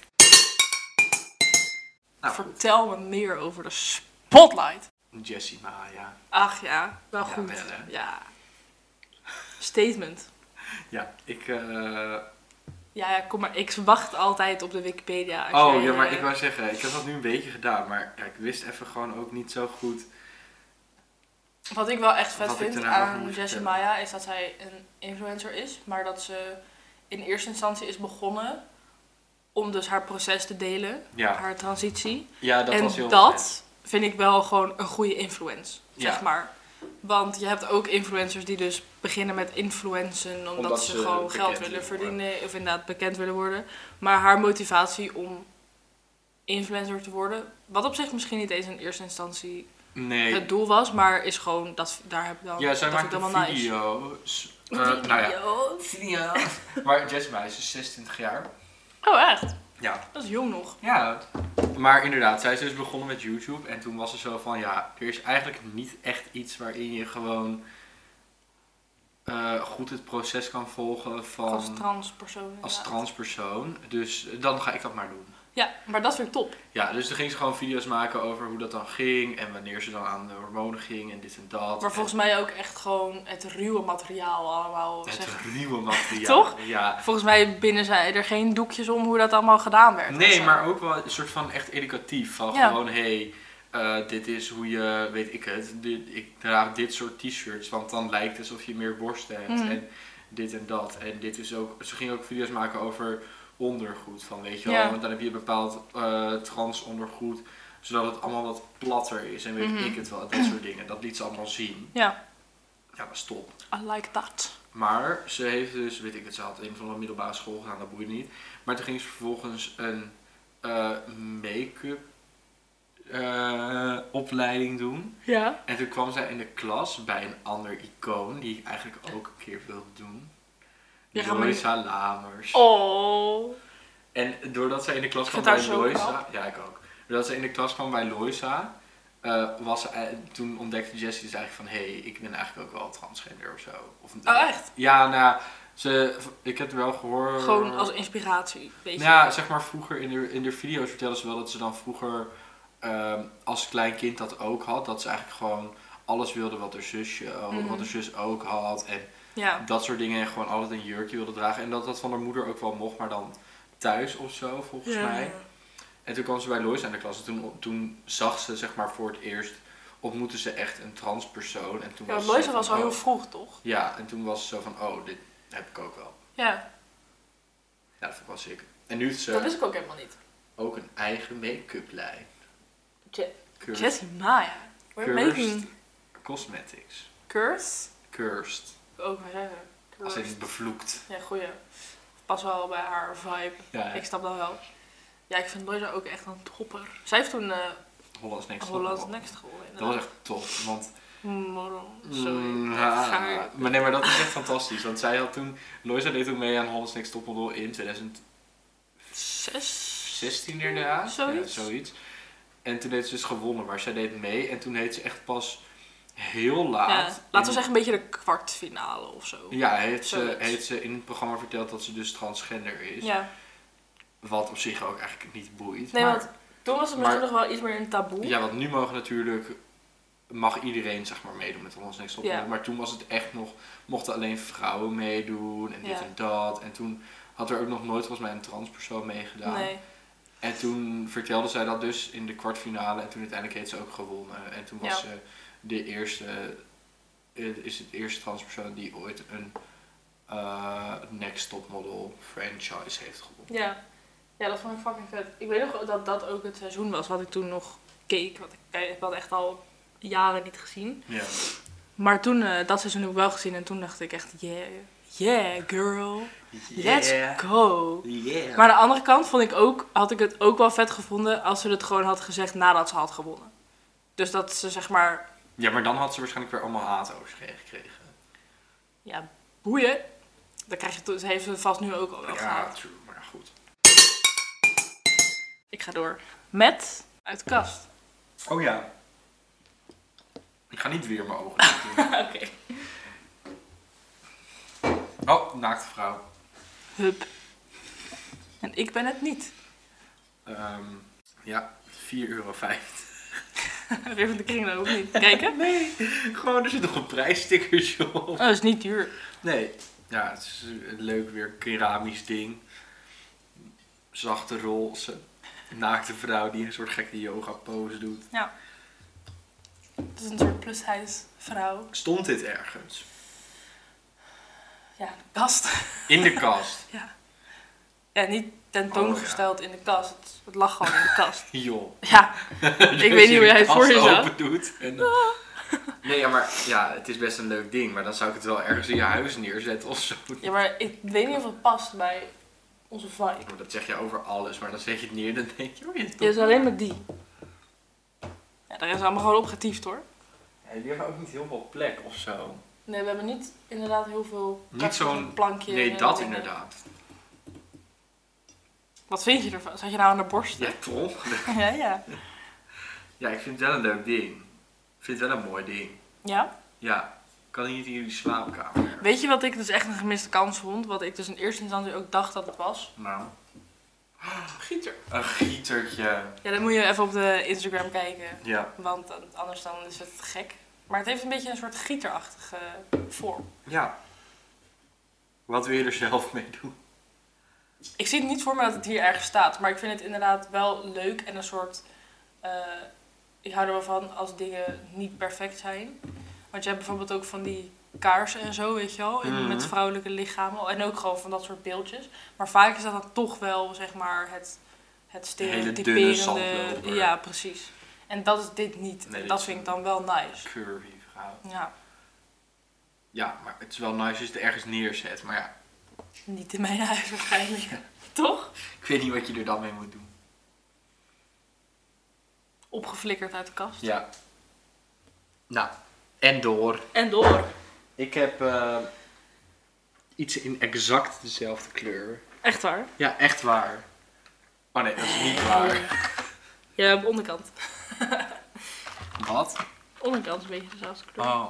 Speaker 1: Nou,
Speaker 2: Vertel me meer over de spotlight.
Speaker 1: Jessie Maya.
Speaker 2: Ach ja, wel
Speaker 1: Ja, eh,
Speaker 2: goed.
Speaker 1: wel, hè?
Speaker 2: ja. Statement.
Speaker 1: Ja, ik... eh,
Speaker 2: Ja, ja, kom maar. Ik wacht altijd op de Wikipedia.
Speaker 1: Oh
Speaker 2: als jij,
Speaker 1: ja, maar
Speaker 2: eh,
Speaker 1: ik wou zeggen, ik heb dat nu een beetje gedaan, maar ja, ik wist even gewoon ook niet zo goed
Speaker 2: Wat ik wel echt vet
Speaker 1: Wat ik
Speaker 2: vind
Speaker 1: daarna nog
Speaker 2: aan
Speaker 1: moet
Speaker 2: Jessie
Speaker 1: vertellen.
Speaker 2: Maya is dat zij een influencer is, maar dat ze in eerste instantie is begonnen om dus haar proces te delen,
Speaker 1: Ja,
Speaker 2: haar transitie.
Speaker 1: ja dat
Speaker 2: en
Speaker 1: was heel vet.
Speaker 2: dat vind ik wel gewoon een goede influence,
Speaker 1: Ja.
Speaker 2: zeg maar. Want je hebt ook influencers die dus beginnen met influencen omdat,
Speaker 1: Omdat
Speaker 2: ze,
Speaker 1: ze
Speaker 2: gewoon
Speaker 1: bekend
Speaker 2: geld willen
Speaker 1: willen
Speaker 2: verdienen of inderdaad bekend willen worden. Maar haar motivatie om influencer te worden, wat op zich misschien niet eens in eerste instantie
Speaker 1: Nee.
Speaker 2: het doel was, maar is gewoon dat daar heb ik dan
Speaker 1: ja, zij
Speaker 2: dat
Speaker 1: maakt
Speaker 2: vind ik
Speaker 1: een
Speaker 2: dan wel nice.
Speaker 1: video's. Eh, nou ja.
Speaker 2: Video's.
Speaker 1: Video's. maar Jessie Maya is 26 jaar.
Speaker 2: Oh echt?
Speaker 1: Ja,
Speaker 2: Dat is jong nog.
Speaker 1: Ja, maar inderdaad, zij is dus begonnen met YouTube en toen was ze zo van ja, er is eigenlijk niet echt iets waarin je gewoon eh, goed het proces kan volgen van
Speaker 2: Als transpersoon.
Speaker 1: als
Speaker 2: inderdaad.
Speaker 1: transpersoon. Dus dan ga ik dat maar doen.
Speaker 2: Ja, maar dat vind ik top.
Speaker 1: Ja, dus toen ging ze gewoon video's maken over hoe dat dan ging en wanneer ze dan aan de hormonen ging en dit en dat.
Speaker 2: Maar volgens mij ook echt gewoon het ruwe materiaal allemaal.
Speaker 1: en
Speaker 2: zeg.
Speaker 1: het eh, ruwe materiaal.
Speaker 2: Toch?
Speaker 1: Ja.
Speaker 2: Volgens mij binnen zij er geen doekjes om hoe dat allemaal gedaan werd. of
Speaker 1: Nee,
Speaker 2: zo.
Speaker 1: maar ook wel een soort van echt educatief. Van
Speaker 2: Ja.
Speaker 1: gewoon, hé, hey, eh, dit is hoe je, weet ik het, dit, ik draag dit soort t-shirts, want dan lijkt het alsof je meer borsten hebt.
Speaker 2: Mm.
Speaker 1: En dit en dat. En dit is ook, ze gingen ook video's maken over ondergoed. Van weet je
Speaker 2: Ja.
Speaker 1: wel, want dan heb je een bepaald eh, trans ondergoed, zodat het allemaal wat platter is. En weet
Speaker 2: Mhm.
Speaker 1: ik het wel, dat soort dingen. Dat liet ze allemaal zien.
Speaker 2: Ja,
Speaker 1: Ja, dat is top.
Speaker 2: I like that.
Speaker 1: Maar ze heeft dus, weet ik het, ze had een van de middelbare school gedaan, dat boeit niet. Maar toen ging ze vervolgens een eh, make-up eh, opleiding doen.
Speaker 2: Ja.
Speaker 1: En toen kwam zij in de klas bij een ander icoon, die ik eigenlijk ook een keer wilde doen.
Speaker 2: Je gaat me niet-
Speaker 1: Joysa Lamers.
Speaker 2: Oh.
Speaker 1: En doordat zij in de klas
Speaker 2: Ik
Speaker 1: kwam
Speaker 2: vind
Speaker 1: bij
Speaker 2: haar zo
Speaker 1: Loisa... Ja, ik ook. Doordat zij in de klas kwam bij Loisa, eh, was, ze ei- toen ontdekte Jessie dus eigenlijk van... Hé, hey, ik ben eigenlijk ook wel transgender of zo. Of,
Speaker 2: Oh, echt?
Speaker 1: Ja, nou ja, ze, ik heb wel gehoord...
Speaker 2: Gewoon als inspiratie, weet je.
Speaker 1: Nou Eh. ja, zeg maar vroeger in de, in de video's vertelden ze wel dat ze dan vroeger ehm, als klein kind dat ook had. Dat ze eigenlijk gewoon alles wilde wat haar zusje, ook-
Speaker 2: Mhm.
Speaker 1: wat haar zus ook had. En
Speaker 2: Ja.
Speaker 1: dat soort dingen en gewoon altijd een jurkje wilde dragen. En dat dat van haar moeder ook wel mocht, maar dan thuis of zo, volgens
Speaker 2: Ja.
Speaker 1: mij. En toen kwam ze bij Lois aan de klas en toen, toen zag ze, zeg maar, voor het eerst ontmoette ze echt een transpersoon. En toen
Speaker 2: Ja,
Speaker 1: was
Speaker 2: want
Speaker 1: ze
Speaker 2: Loisa
Speaker 1: van,
Speaker 2: was al
Speaker 1: oh.
Speaker 2: heel vroeg, toch?
Speaker 1: Ja, en toen was ze zo van, oh, dit heb ik ook wel.
Speaker 2: Ja,
Speaker 1: Ja, dat vond ik wel sick. En nu heeft
Speaker 2: dat
Speaker 1: ze
Speaker 2: wist ik ook helemaal niet.
Speaker 1: ook een eigen make-up lijn.
Speaker 2: Je-
Speaker 1: Cursed,
Speaker 2: Jessie Maya. We're
Speaker 1: Cursed.
Speaker 2: making
Speaker 1: Cosmetics.
Speaker 2: curse.
Speaker 1: Cursed.
Speaker 2: Ook maar zeggen.
Speaker 1: Als
Speaker 2: Cursed.
Speaker 1: in bevloekt.
Speaker 2: Ja, goeie. Pas wel bij haar vibe.
Speaker 1: Ja,
Speaker 2: Ik snap dat wel. Ja, ik vind Loisa ook echt een topper. Zij heeft toen eh
Speaker 1: Hollands Next Top.
Speaker 2: Holland's Next gewonnen.
Speaker 1: Dat was
Speaker 2: inderdaad.
Speaker 1: echt top, want
Speaker 2: Morrel.
Speaker 1: Mm,
Speaker 2: Sorry.
Speaker 1: ja,
Speaker 2: Gaar.
Speaker 1: maar nee, maar dat is echt fantastisch. Want zij had toen, Loisa deed toen mee aan Holland's Next Topmodel in 2016
Speaker 2: Zes.
Speaker 1: inderdaad.
Speaker 2: Zoiets.
Speaker 1: Ja, zoiets. En toen heeft ze dus gewonnen, maar zij deed mee. En toen heeft ze echt pas heel laat...
Speaker 2: Ja, laten we
Speaker 1: in-
Speaker 2: zeggen een beetje de kwartfinale of zo.
Speaker 1: Ja, heeft ze,
Speaker 2: Zoiets.
Speaker 1: heeft ze in het programma verteld dat ze dus transgender is.
Speaker 2: Ja.
Speaker 1: Wat op zich ook eigenlijk niet boeit.
Speaker 2: Nee,
Speaker 1: maar,
Speaker 2: want toen was het misschien
Speaker 1: maar-
Speaker 2: nog wel iets meer een taboe.
Speaker 1: Ja, want nu mogen natuurlijk... Mag iedereen zeg maar meedoen met Hollands Next Topmodel.
Speaker 2: Ja.
Speaker 1: Maar toen was het echt nog... Mochten alleen vrouwen meedoen en dit
Speaker 2: Ja.
Speaker 1: en dat. En toen had er ook nog nooit volgens mij een transpersoon meegedaan.
Speaker 2: Nee.
Speaker 1: En toen vertelde zij dat dus in de kwartfinale. En toen uiteindelijk heeft ze ook gewonnen. En toen was
Speaker 2: Ja.
Speaker 1: ze de eerste... Het is het eerste transpersoon die ooit een eh, Next Topmodel franchise heeft gewonnen.
Speaker 2: Ja. ja, dat vond ik fucking vet. Ik weet nog dat dat ook het seizoen was wat ik toen nog keek. Want ik heb dat echt al jaren niet gezien.
Speaker 1: Ja.
Speaker 2: Maar toen, eh, dat seizoen heb ik wel gezien en toen dacht ik echt, yeah, yeah girl, let's go.
Speaker 1: Yeah.
Speaker 2: Maar aan de andere kant vond ik ook, had ik het ook wel vet gevonden als ze het gewoon had gezegd nadat ze had gewonnen. Dus dat ze zeg maar,
Speaker 1: Ja, maar dan had ze waarschijnlijk weer allemaal haat over zich heen gekregen.
Speaker 2: ja, boeien. Dan krijg je, to- ze heeft ze vast nu ook al wel
Speaker 1: Ja,
Speaker 2: gehad.
Speaker 1: true, maar goed.
Speaker 2: Ik ga door met uit de kast.
Speaker 1: Oh ja. Ik ga niet weer mijn ogen dicht doen.
Speaker 2: Oké.
Speaker 1: Oh, naakte vrouw.
Speaker 2: Hup. En ik ben het niet.
Speaker 1: Ehm, ja, 4,50 euro.
Speaker 2: Weer van de kringloop of niet. Kijken.
Speaker 1: Nee, gewoon er zit nog een prijsstickertje op.
Speaker 2: Oh, dat is niet duur.
Speaker 1: Nee, ja, het is een leuk weer keramisch ding. Zachte roze. Naakte vrouw die een soort gekke yoga pose doet.
Speaker 2: Ja. Dat is een soort plushuis vrouw.
Speaker 1: Stond dit ergens?
Speaker 2: Ja, de kast.
Speaker 1: In de kast?
Speaker 2: ja. ja, niet tentoongesteld
Speaker 1: Oh,
Speaker 2: in de kast. Het, het lag gewoon in de kast.
Speaker 1: Joh.
Speaker 2: Ja, weet niet hoe jij het voor je zag.
Speaker 1: open doet. En eh, dan- Ah. Nee, ja, maar ja, het is best een leuk ding. Maar dan zou ik het wel ergens in je huis neerzetten of zo.
Speaker 2: ja maar ik weet niet of het past bij onze vibe.
Speaker 1: Maar Dat zeg je over alles, maar dan zet je het neer en dan denk je, oh, je
Speaker 2: Je is alleen maar die. Ja, daar is allemaal gewoon opgetiefd hoor.
Speaker 1: Ja, jullie hebben ook niet heel veel plek of zo.
Speaker 2: Nee, we hebben niet inderdaad heel veel
Speaker 1: Niet
Speaker 2: kastjes
Speaker 1: zo'n-
Speaker 2: en plankje.
Speaker 1: Nee,
Speaker 2: en
Speaker 1: dat
Speaker 2: dingen.
Speaker 1: inderdaad.
Speaker 2: Wat vind je ervan? Zat je nou aan de borst?
Speaker 1: Ja, toch?
Speaker 2: ja, ja.
Speaker 1: Ja, ik vind het wel een leuk ding. Ik vind het wel een mooi ding.
Speaker 2: Ja?
Speaker 1: Ja, kan niet in jullie slaapkamer.
Speaker 2: Weet je wat ik dus echt een gemiste kans vond? Wat ik dus in eerste instantie ook dacht dat het was?
Speaker 1: Nou,
Speaker 2: Gieter.
Speaker 1: een gietertje.
Speaker 2: Ja, dan moet je even op de Instagram kijken.
Speaker 1: Ja.
Speaker 2: Want dan- anders dan is het te gek. Maar het heeft een beetje een soort gieterachtige vorm.
Speaker 1: Ja. Wat wil je er zelf mee doen?
Speaker 2: Ik zie het niet voor me dat het hier ergens staat. Maar ik vind het inderdaad wel leuk en een soort... eh, ik hou er wel van als dingen niet perfect zijn. Want je hebt bijvoorbeeld ook van die kaarsen en zo, weet je wel. in-
Speaker 1: Mhm.
Speaker 2: Met vrouwelijke lichamen. En ook gewoon van dat soort beeldjes. Maar vaak is dat dan toch wel, zeg maar, het, het
Speaker 1: Een hele dunne
Speaker 2: stereotyperende...
Speaker 1: zandloper.
Speaker 2: Ja, precies. En dat is dit niet.
Speaker 1: Nee, dit
Speaker 2: dat
Speaker 1: is-
Speaker 2: vind ik dan wel nice.
Speaker 1: Curvy vrouw.
Speaker 2: Ja,
Speaker 1: Ja, maar het is wel nice als je het ergens neerzet. Maar ja,
Speaker 2: niet in mijn huis waarschijnlijk. Toch?
Speaker 1: ik weet niet wat je er dan mee moet doen.
Speaker 2: Opgeflikkerd uit de kast.
Speaker 1: Ja. Nou, en door.
Speaker 2: En door.
Speaker 1: Ik heb eh, iets in exact dezelfde kleur.
Speaker 2: Echt waar.
Speaker 1: Ja, echt waar. Oh nee, dat is niet waar.
Speaker 2: Ja, op de onderkant.
Speaker 1: Wat?
Speaker 2: Onderkant is een beetje dezelfde kleur.
Speaker 1: Oh.
Speaker 2: Ah.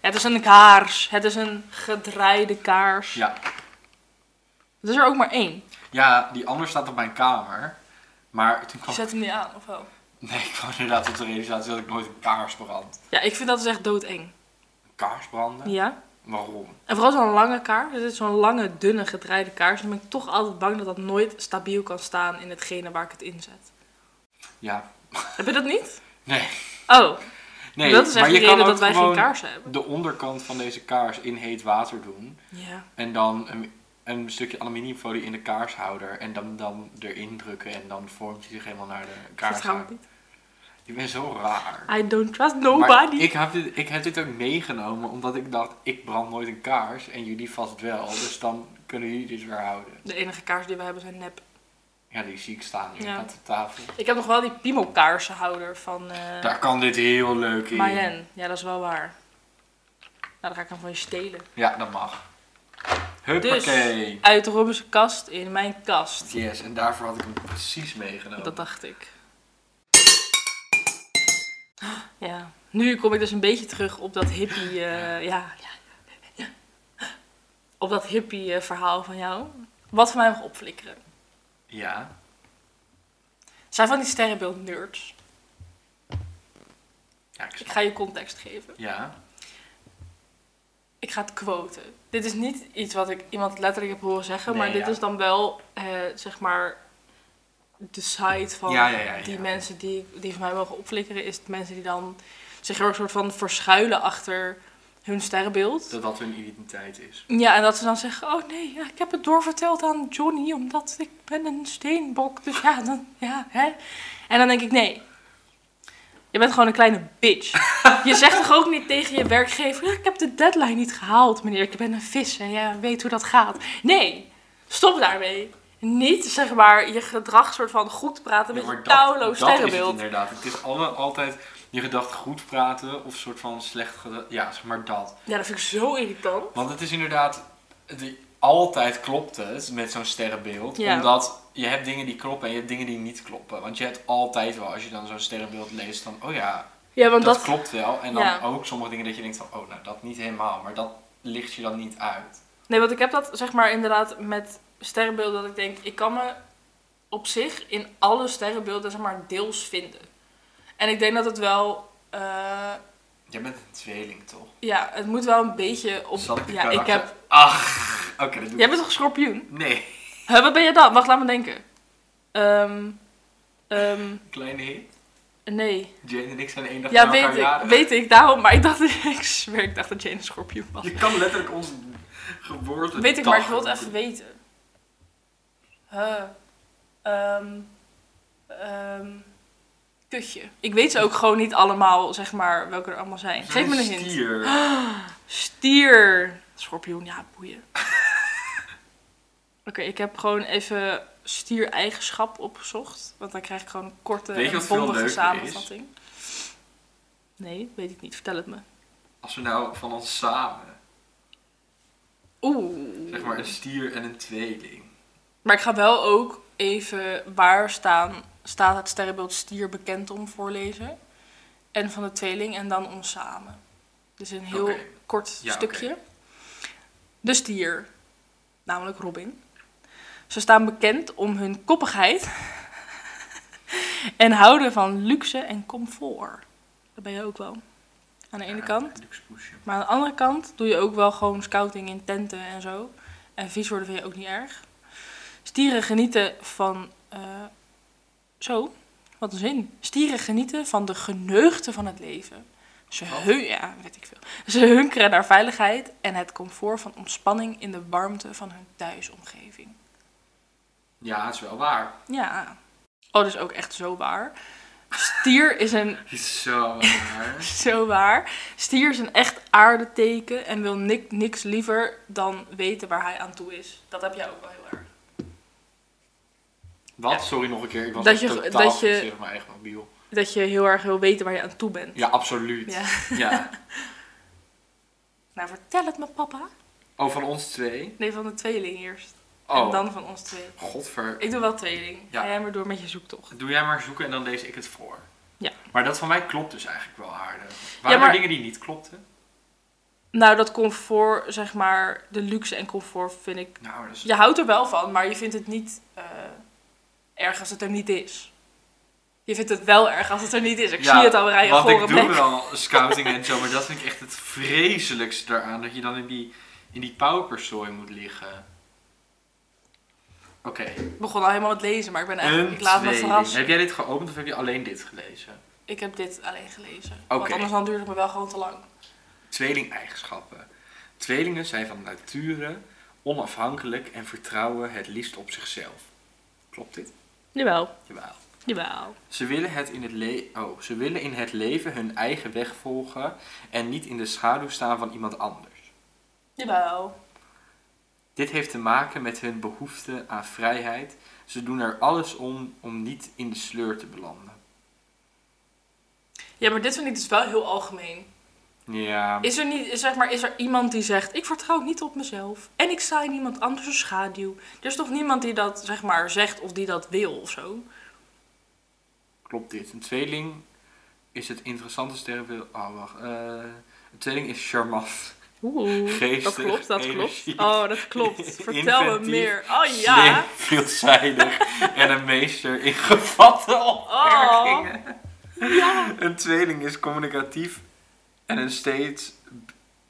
Speaker 2: Het is een kaars. Het is een gedraaide kaars. Oh.
Speaker 1: Ja.
Speaker 2: Het is er ook maar één.
Speaker 1: ja, die ander staat op mijn kamer. Maar toen
Speaker 2: Je
Speaker 1: kwam,
Speaker 2: zet hem niet aan, of wel?
Speaker 1: nee, ik kwam inderdaad tot de realisatie dat ik nooit een kaars brand.
Speaker 2: Ja, ik vind dat is echt doodeng.
Speaker 1: Een kaars branden?
Speaker 2: Ja.
Speaker 1: Waarom?
Speaker 2: En vooral zo'n lange kaars. Het is zo'n lange, dunne, gedraaide kaars. Dan ben ik toch altijd bang dat dat nooit stabiel kan staan in hetgene waar ik het in zet.
Speaker 1: Ja.
Speaker 2: Heb je dat niet?
Speaker 1: Nee.
Speaker 2: Oh,
Speaker 1: nee
Speaker 2: dat is echt
Speaker 1: maar
Speaker 2: de
Speaker 1: je kan
Speaker 2: reden
Speaker 1: ook
Speaker 2: dat wij geen
Speaker 1: gewoon
Speaker 2: kaarsen hebben.
Speaker 1: de onderkant van deze kaars in heet water doen.
Speaker 2: Ja.
Speaker 1: En dan een, een stukje aluminiumfolie in de kaarshouder. En dan, dan erin drukken. En dan vormt hij zich helemaal naar de
Speaker 2: Vertrouw het
Speaker 1: kaarshouder.
Speaker 2: niet.
Speaker 1: Je bent zo raar.
Speaker 2: I don't trust
Speaker 1: Maar
Speaker 2: nobody.
Speaker 1: ik, heb dit, ik heb dit ook meegenomen omdat ik dacht, ik brand nooit een kaars en jullie vast wel. Dus dan kunnen jullie dit weer houden.
Speaker 2: De enige kaars die we hebben zijn nep.
Speaker 1: Ja, die zie ik staan hier
Speaker 2: Ja.
Speaker 1: aan de tafel.
Speaker 2: Ik heb nog wel die piemelkaarsenhouder van eh
Speaker 1: Daar kan dit heel leuk in.
Speaker 2: Mayenne. Ja, dat is wel waar. Nou, dan ga ik hem van je stelen. Dus,
Speaker 1: Ja, dat mag. Huppakee.
Speaker 2: Uit Robben's kast in mijn kast.
Speaker 1: Yes, en daarvoor had ik hem precies meegenomen.
Speaker 2: Dus- Dat dacht ik. Ja, nu kom ik dus een beetje terug op dat hippie... eh, ja, ja, ja. Op dat hippie eh, verhaal van jou. Wat voor mij mag opflikkeren.
Speaker 1: Ja.
Speaker 2: Zijn van die sterrenbeeld nerds.
Speaker 1: Ja, ik
Speaker 2: Ik
Speaker 1: snap.
Speaker 2: ga je context geven.
Speaker 1: Ja.
Speaker 2: Ik ga het quoten. Dit is niet iets wat ik iemand letterlijk heb horen zeggen,
Speaker 1: Nee,
Speaker 2: maar dit
Speaker 1: ja.
Speaker 2: is dan wel eh, zeg maar de site van
Speaker 1: Ja, ja, ja,
Speaker 2: die
Speaker 1: ja.
Speaker 2: mensen die, die voor mij mogen opflikkeren, is het mensen die dan zich heel erg soort van verschuilen achter hun sterrenbeeld.
Speaker 1: Dat dat hun identiteit is.
Speaker 2: Ja, en dat ze dan zeggen, oh nee, ja, ik heb het doorverteld aan Johnny, omdat ik ben een steenbok. Dus ja, dan, ja, hè. En dan denk ik, nee, je bent gewoon een kleine bitch. Je zegt toch ook niet tegen je werkgever, ja, ik heb de deadline niet gehaald, meneer. Ik ben een vis en ja, weet hoe dat gaat. Nee, stop daarmee. Niet, zeg maar, je gedrag soort van goed praten met
Speaker 1: Ja,
Speaker 2: je
Speaker 1: maar dat-
Speaker 2: touwloos
Speaker 1: Dat is het
Speaker 2: sterrenbeeld.
Speaker 1: inderdaad. Het is alle, altijd je gedachten goed praten of soort van slecht gedacht. Ja, zeg maar dat.
Speaker 2: Ja, dat vind ik zo irritant.
Speaker 1: Want het is inderdaad, het- altijd klopt het met zo'n sterrenbeeld.
Speaker 2: Ja.
Speaker 1: Omdat je hebt dingen die kloppen en je hebt dingen die niet kloppen. Want je hebt altijd wel, als je dan zo'n sterrenbeeld leest, dan, oh ja,
Speaker 2: Ja, want
Speaker 1: dat,
Speaker 2: dat,
Speaker 1: klopt wel. En dan
Speaker 2: Ja.
Speaker 1: ook sommige dingen dat je denkt van, oh nou, dat niet helemaal. Maar dat licht je dan niet uit.
Speaker 2: Nee, want ik heb dat zeg maar inderdaad met sterrenbeelden dat ik denk, ik kan me op zich in alle sterrenbeelden zeg maar deels vinden. En ik denk dat het wel, eh,
Speaker 1: Jij bent een tweeling, toch?
Speaker 2: ja, het moet wel een beetje op.
Speaker 1: Zat die
Speaker 2: ja, ik
Speaker 1: karakter-
Speaker 2: heb.
Speaker 1: Ach, oké, dat doe
Speaker 2: Jij
Speaker 1: ik.
Speaker 2: bent toch een schorpioen?
Speaker 1: Nee,
Speaker 2: Huh, wat ben je dan? Wacht, laat me denken. Ehm, ehm,
Speaker 1: kleine hit.
Speaker 2: Nee.
Speaker 1: Jane en ik zijn één dag
Speaker 2: Ja,
Speaker 1: na elkaar
Speaker 2: weet ik,
Speaker 1: jarig.
Speaker 2: weet ik daarom. Maar ik dacht, ik zweer, ik dacht dat Jane een schorpioen was.
Speaker 1: Je kan letterlijk ons geboorte.
Speaker 2: Weet ik, maar ik wil het even weten. Huh. Ehm. Ehm. kutje. Ik weet ze ook gewoon niet allemaal, zeg maar, welke er allemaal zijn. Geef me een hint.
Speaker 1: Stier.
Speaker 2: Stier. Schorpioen, ja, boeien. Oké, ik heb gewoon even stier-eigenschap opgezocht. Want dan krijg ik gewoon een korte
Speaker 1: Weet je
Speaker 2: en
Speaker 1: wat veel
Speaker 2: bondige
Speaker 1: leuker
Speaker 2: samenvatting. Nee, weet ik niet. Vertel het me.
Speaker 1: Als we nou van ons samen,
Speaker 2: Oeh.
Speaker 1: zeg maar een stier en een tweeling.
Speaker 2: Maar ik ga wel ook even waar staan, staat het sterrenbeeld stier bekend om voorlezen. En van de tweeling en dan ons samen. Dus een heel
Speaker 1: Oké.
Speaker 2: kort
Speaker 1: Ja,
Speaker 2: stukje. De stier, namelijk Robin. Ze staan bekend om hun koppigheid en houden van luxe en comfort. Dat ben je ook wel. Aan de ene kant.
Speaker 1: Luxe poesje.
Speaker 2: Maar aan de andere kant doe je ook wel gewoon scouting in tenten en zo. En vies worden vind je ook niet erg. Stieren genieten van. eh, zo, wat een zin. Stieren genieten van de geneugten van het leven. Ze,
Speaker 1: Wat?
Speaker 2: hun, ja, weet ik veel. Dus Ze hunkeren naar veiligheid en het comfort van ontspanning in de warmte van hun thuisomgeving.
Speaker 1: Ja, dat is wel waar.
Speaker 2: Ja. Oh, dat is ook echt zo waar. Stier is een
Speaker 1: Het is zo waar.
Speaker 2: Zo waar. Stier is een echt aardeteken en wil ni- niks liever dan weten waar hij aan toe is. Dat heb jij ook wel heel erg.
Speaker 1: Wat? Sorry nog een keer. Ik was
Speaker 2: Dat
Speaker 1: echt
Speaker 2: je-
Speaker 1: totaal
Speaker 2: dat je-
Speaker 1: gefixeerd op mijn eigen mobiel.
Speaker 2: Dat je heel erg wil weten waar je aan toe bent.
Speaker 1: Ja, absoluut.
Speaker 2: Ja.
Speaker 1: ja.
Speaker 2: Nou, vertel het me, papa.
Speaker 1: Oh, van ons twee?
Speaker 2: Nee, van de tweeling eerst.
Speaker 1: Oh,
Speaker 2: En dan van ons twee.
Speaker 1: godver.
Speaker 2: Ik doe wel tweeling.
Speaker 1: Ja.
Speaker 2: Ga jij maar door met je zoektocht.
Speaker 1: Doe jij maar zoeken en dan lees ik het voor.
Speaker 2: Ja.
Speaker 1: Maar dat van mij klopt dus eigenlijk wel aardig. Waren
Speaker 2: maar-
Speaker 1: er dingen die niet klopten?
Speaker 2: Nou, dat comfort, zeg maar, de luxe en comfort vind ik...
Speaker 1: Nou, dat is...
Speaker 2: Je houdt er wel van, maar je vindt het niet eh, erg als het er niet is. Je vindt het wel erg als het er niet is. Ik
Speaker 1: Ja,
Speaker 2: zie het al rijden,
Speaker 1: Want
Speaker 2: gore
Speaker 1: ik doe
Speaker 2: bek.
Speaker 1: wel scouting en zo, maar dat vind ik echt het vreselijkste daaraan. Dat je dan in die, in die pauperzooi moet liggen. Oké,
Speaker 2: Ik begon al helemaal het lezen, maar ik ben echt.
Speaker 1: een
Speaker 2: Nou, Ik laat me
Speaker 1: tweeling.
Speaker 2: verrassen.
Speaker 1: Heb jij dit geopend of heb je alleen dit gelezen?
Speaker 2: Ik heb dit alleen gelezen. Want
Speaker 1: Oké.
Speaker 2: anders dan duurt het me wel gewoon te lang.
Speaker 1: Tweeling-eigenschappen. Tweelingen zijn van nature onafhankelijk en vertrouwen het liefst op zichzelf. Klopt dit?
Speaker 2: Jawel,
Speaker 1: Jawel.
Speaker 2: jawel.
Speaker 1: Ze willen, het in het le- oh, ze willen in het leven hun eigen weg volgen en niet in de schaduw staan van iemand anders.
Speaker 2: Jawel.
Speaker 1: Dit heeft te maken met hun behoefte aan vrijheid. Ze doen er alles om om niet in de sleur te belanden.
Speaker 2: Ja, maar dit vind ik dus wel heel algemeen.
Speaker 1: Ja,
Speaker 2: Is er, niet, is, zeg maar, is er iemand die zegt, ik vertrouw niet op mezelf. En ik sta in iemand anders' schaduw. Er is toch niemand die dat, zeg maar, zegt of die dat wil of zo?
Speaker 1: klopt dit. Een tweeling is het interessante sterrenbeeld. Oh, wacht. Eh, een tweeling is charmant.
Speaker 2: Oeh,
Speaker 1: Geestig,
Speaker 2: dat klopt, dat
Speaker 1: energiek,
Speaker 2: klopt. Oh, dat klopt. Vertel me
Speaker 1: inventief,
Speaker 2: meer. Oh ja.
Speaker 1: Slim, veelzijdig en een meester in gevatte
Speaker 2: Oh.
Speaker 1: opmerkingen.
Speaker 2: ja.
Speaker 1: Een tweeling is communicatief en een steeds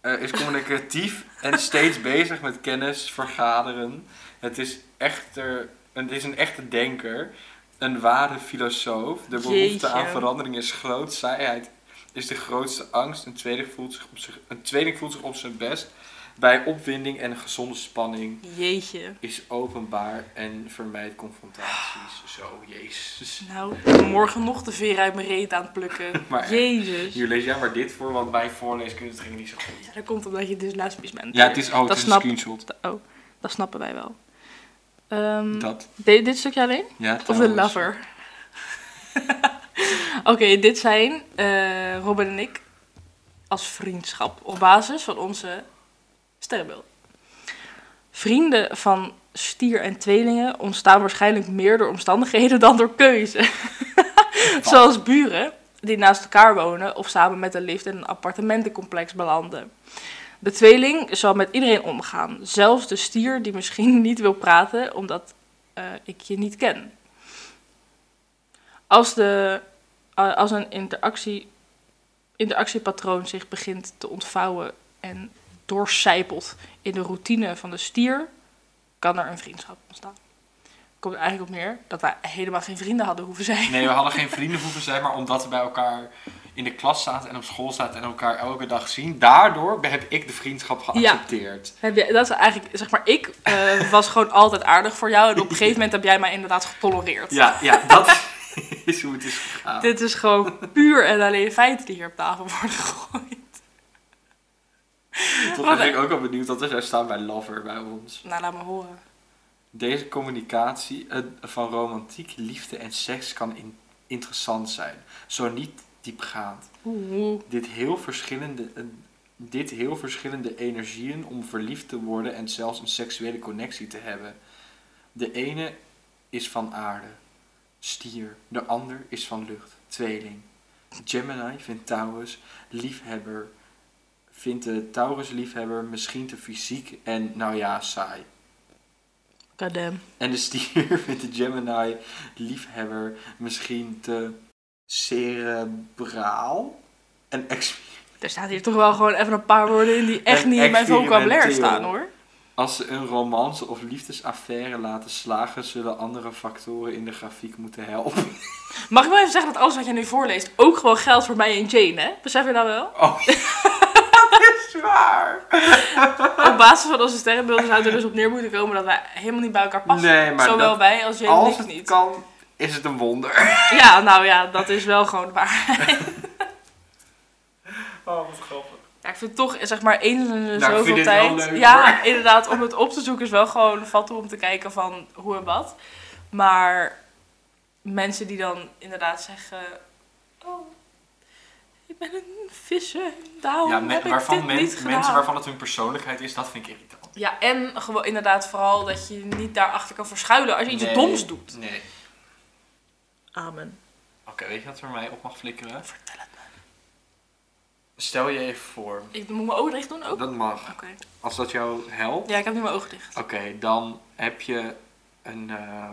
Speaker 1: eh, is communicatief en steeds bezig met kennis vergaderen. Het is echter het is een echte denker, een ware filosoof. De behoefte
Speaker 2: Jeetje.
Speaker 1: aan verandering is groot, saaiheid is de grootste angst. Een tweeling voelt zich op, zich, een tweeling voelt zich op zijn best bij opwinding en gezonde spanning.
Speaker 2: Jeetje.
Speaker 1: Is openbaar en vermijdt confrontaties. Zo, jezus.
Speaker 2: Nou, morgen nog de veer uit mijn reet aan het plukken.
Speaker 1: Maar echt.
Speaker 2: Jezus.
Speaker 1: Hier lees jij maar dit voor, want mijn voorleeskunde ging niet zo goed.
Speaker 2: Ja, dat komt omdat je dus lesbisch bent.
Speaker 1: Ja, het is, oh, het
Speaker 2: dat
Speaker 1: is
Speaker 2: snap-
Speaker 1: een screenshot.
Speaker 2: Oh, dat snappen wij wel. Ehm,
Speaker 1: Dat.
Speaker 2: de- dit stukje alleen?
Speaker 1: Ja,
Speaker 2: Of de
Speaker 1: trouwens.
Speaker 2: lover? Oké, dit zijn eh, Robin en ik als vriendschap op basis van onze sterrenbeeld. Vrienden van stier en tweelingen ontstaan waarschijnlijk meer door omstandigheden dan door keuze. Zoals buren die naast elkaar wonen of samen met een lift in een appartementencomplex belanden. De tweeling zal met iedereen omgaan, zelfs de stier die misschien niet wil praten omdat eh, ik je niet ken. Als, de, eh, als een interactie, interactiepatroon zich begint te ontvouwen en doorcijpelt in de routine van de stier, kan er een vriendschap ontstaan. komt er eigenlijk op neer dat wij helemaal geen vrienden hadden hoeven zijn.
Speaker 1: Nee, we hadden geen vrienden hoeven zijn, maar omdat we bij elkaar in de klas zaten en op school zaten en elkaar elke dag zien, daardoor heb ik de vriendschap geaccepteerd.
Speaker 2: Heb je, dat is eigenlijk, zeg maar, ik eh, was gewoon altijd aardig voor jou. En op een gegeven moment heb jij mij inderdaad getolereerd.
Speaker 1: Ja, ja, dat is hoe het is gegaan.
Speaker 2: Dit is gewoon puur en alleen feiten die hier op tafel worden gegooid.
Speaker 1: Toch
Speaker 2: wat-
Speaker 1: ben ik ook al benieuwd wat er zou staan bij Lover bij ons.
Speaker 2: Nou, laat me horen.
Speaker 1: Deze communicatie eh, van romantiek, liefde en seks kan in- interessant zijn, zo niet diepgaand.
Speaker 2: Oeh.
Speaker 1: Dit heel, verschillende, eh, dit heel verschillende energieën om verliefd te worden en zelfs een seksuele connectie te hebben. De ene is van aarde, stier. De ander is van lucht, tweeling. Gemini vindt Taurus liefhebber. Vindt de Taurus liefhebber misschien te fysiek en nou ja, saai.
Speaker 2: Goddamn.
Speaker 1: En de stier vindt de Gemini liefhebber misschien te cerebraal en ex-
Speaker 2: Er staat hier toch wel gewoon even een paar woorden in die echt
Speaker 1: En
Speaker 2: niet in mijn vocabulaire
Speaker 1: experimenteel.
Speaker 2: staan hoor.
Speaker 1: Als ze een romance of liefdesaffaire laten slagen, zullen andere factoren in de grafiek moeten helpen.
Speaker 2: Mag ik wel even zeggen dat alles wat je nu voorleest ook gewoon geldt voor mij en Jane, hè? Besef je dat wel?
Speaker 1: Oh, dat is waar!
Speaker 2: Op basis van onze sterrenbeelden zou het er dus op neer moeten komen dat wij helemaal niet bij elkaar passen.
Speaker 1: Nee, maar
Speaker 2: Zowel
Speaker 1: dat-
Speaker 2: wij als Jane
Speaker 1: Als
Speaker 2: en ik
Speaker 1: het
Speaker 2: niet.
Speaker 1: kan, is het een wonder.
Speaker 2: Ja, nou ja, dat is wel gewoon waar.
Speaker 1: Oh, wat grappig.
Speaker 2: Ja, ik vind toch, zeg maar, eens in de
Speaker 1: Nou, ik vind
Speaker 2: zoveel
Speaker 1: dit wel
Speaker 2: tijd.
Speaker 1: leuk,
Speaker 2: ja, inderdaad, om het op te zoeken is wel gewoon vat toe om te kijken van hoe en wat. Maar mensen die dan inderdaad zeggen: Oh, ik ben een visser, daarom
Speaker 1: Ja,
Speaker 2: Oh, heb
Speaker 1: me-
Speaker 2: ik
Speaker 1: waarvan
Speaker 2: dit
Speaker 1: men-
Speaker 2: niet gedaan.
Speaker 1: mensen waarvan het hun persoonlijkheid is, dat vind ik irritant.
Speaker 2: Ja, en gewoon inderdaad vooral dat je je niet daarachter kan verschuilen als je iets
Speaker 1: Nee.
Speaker 2: doms doet.
Speaker 1: Nee.
Speaker 2: Amen.
Speaker 1: Oké, weet je wat er mij op mag flikkeren?
Speaker 2: Vertel het me.
Speaker 1: Stel je even voor.
Speaker 2: Ik moet mijn ogen dicht doen ook? Oké.
Speaker 1: Dat mag. Als dat jou helpt.
Speaker 2: Ja, ik heb nu mijn ogen dicht.
Speaker 1: Oké, dan heb je een, eh,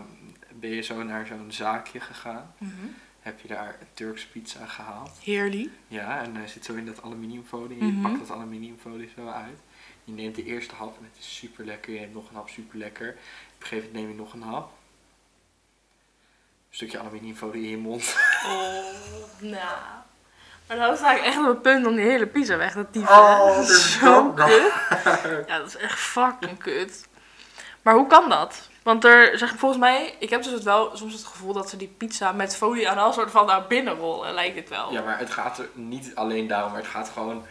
Speaker 1: ben je zo naar zo'n zaakje gegaan.
Speaker 2: Mhm.
Speaker 1: Heb je daar een Turks pizza gehaald.
Speaker 2: Heerly.
Speaker 1: Ja, en hij zit zo in dat aluminiumfolie. En
Speaker 2: Mhm.
Speaker 1: je pakt dat aluminiumfolie zo uit. Je neemt de eerste hap en het is super lekker. Je neemt nog een hap, super lekker. Op een gegeven moment neem je nog een hap. Een stukje aluminiumfolie in je mond.
Speaker 2: Oh, nou. Maar dan sta ik echt op het punt om die hele pizza weg te dieven.
Speaker 1: Oh, dat is
Speaker 2: Zo
Speaker 1: ook nog.
Speaker 2: kut. Ja, dat is echt fucking kut. Maar hoe kan dat? Want er, zeg, volgens mij, ik heb dus het wel soms het gevoel dat ze die pizza met folie aan al soort van naar binnen rollen, lijkt het wel.
Speaker 1: Ja, maar het gaat er niet alleen daarom. Maar het gaat gewoon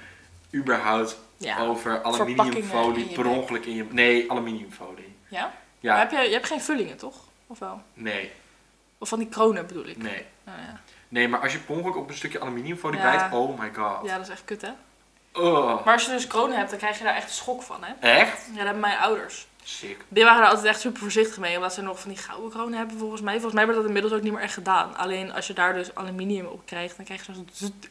Speaker 1: überhaupt
Speaker 2: Ja.
Speaker 1: over
Speaker 2: verpakkingen in
Speaker 1: aluminiumfolie.
Speaker 2: je
Speaker 1: Per
Speaker 2: bek.
Speaker 1: ongeluk in je... Nee, aluminiumfolie.
Speaker 2: Ja?
Speaker 1: Ja,
Speaker 2: Maar Heb je, je hebt geen vullingen, toch? Of wel?
Speaker 1: nee,
Speaker 2: Of van die kronen bedoel ik.
Speaker 1: nee.
Speaker 2: Nou ja.
Speaker 1: Nee, maar als je per ongeluk op een stukje aluminiumfolie
Speaker 2: Ja.
Speaker 1: bijt, oh my god.
Speaker 2: ja, dat is echt kut, hè?
Speaker 1: Ugh.
Speaker 2: Maar als je dus kronen hebt, dan krijg je daar echt schok van, hè?
Speaker 1: Echt?
Speaker 2: Ja, dat hebben mijn ouders.
Speaker 1: Sick.
Speaker 2: Die waren er altijd echt super voorzichtig mee, omdat ze nog van die gouden kronen hebben volgens mij. Volgens mij wordt dat inmiddels ook niet meer echt gedaan. Alleen als je daar dus aluminium op krijgt, dan krijg je zo'n zoet-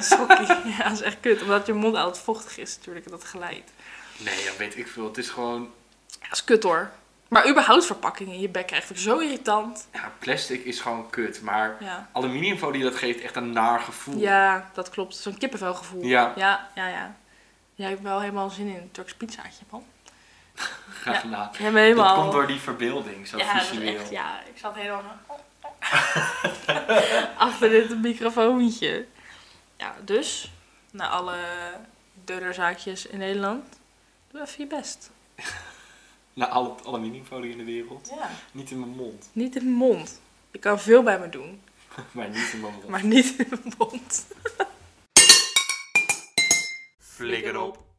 Speaker 2: schokkie. ja, dat is echt kut, omdat je mond altijd vochtig is natuurlijk en dat glijdt.
Speaker 1: Nee, dat weet ik veel. Het is gewoon...
Speaker 2: Ja, dat is kut hoor. Maar überhaupt verpakkingen in je bek krijg ik zo irritant.
Speaker 1: Ja, plastic is gewoon kut. Maar
Speaker 2: Ja,
Speaker 1: aluminiumfolie, dat geeft echt een naar gevoel.
Speaker 2: ja dat klopt. Zo'n kippenvelgevoel.
Speaker 1: Ja.
Speaker 2: Ja, ja, ja. Jij hebt wel helemaal zin in een Turks pizzaatje, man.
Speaker 1: Graag
Speaker 2: Ja.
Speaker 1: na.
Speaker 2: Jij bent
Speaker 1: Dat
Speaker 2: helemaal...
Speaker 1: komt door die verbeelding, zo
Speaker 2: ja, dat is
Speaker 1: visueel.
Speaker 2: echt, ja, ik zat helemaal zo- achter dit microfoontje. Ja, dus, naar alle deurderzaakjes in Nederland, doe even je best.
Speaker 1: Na al het aluminiumfolie in de wereld.
Speaker 2: Ja.
Speaker 1: Niet in mijn mond.
Speaker 2: Niet in de mond. Je kan veel bij me doen,
Speaker 1: Maar niet in mijn mond.
Speaker 2: maar niet in de mond.
Speaker 3: Flikker op.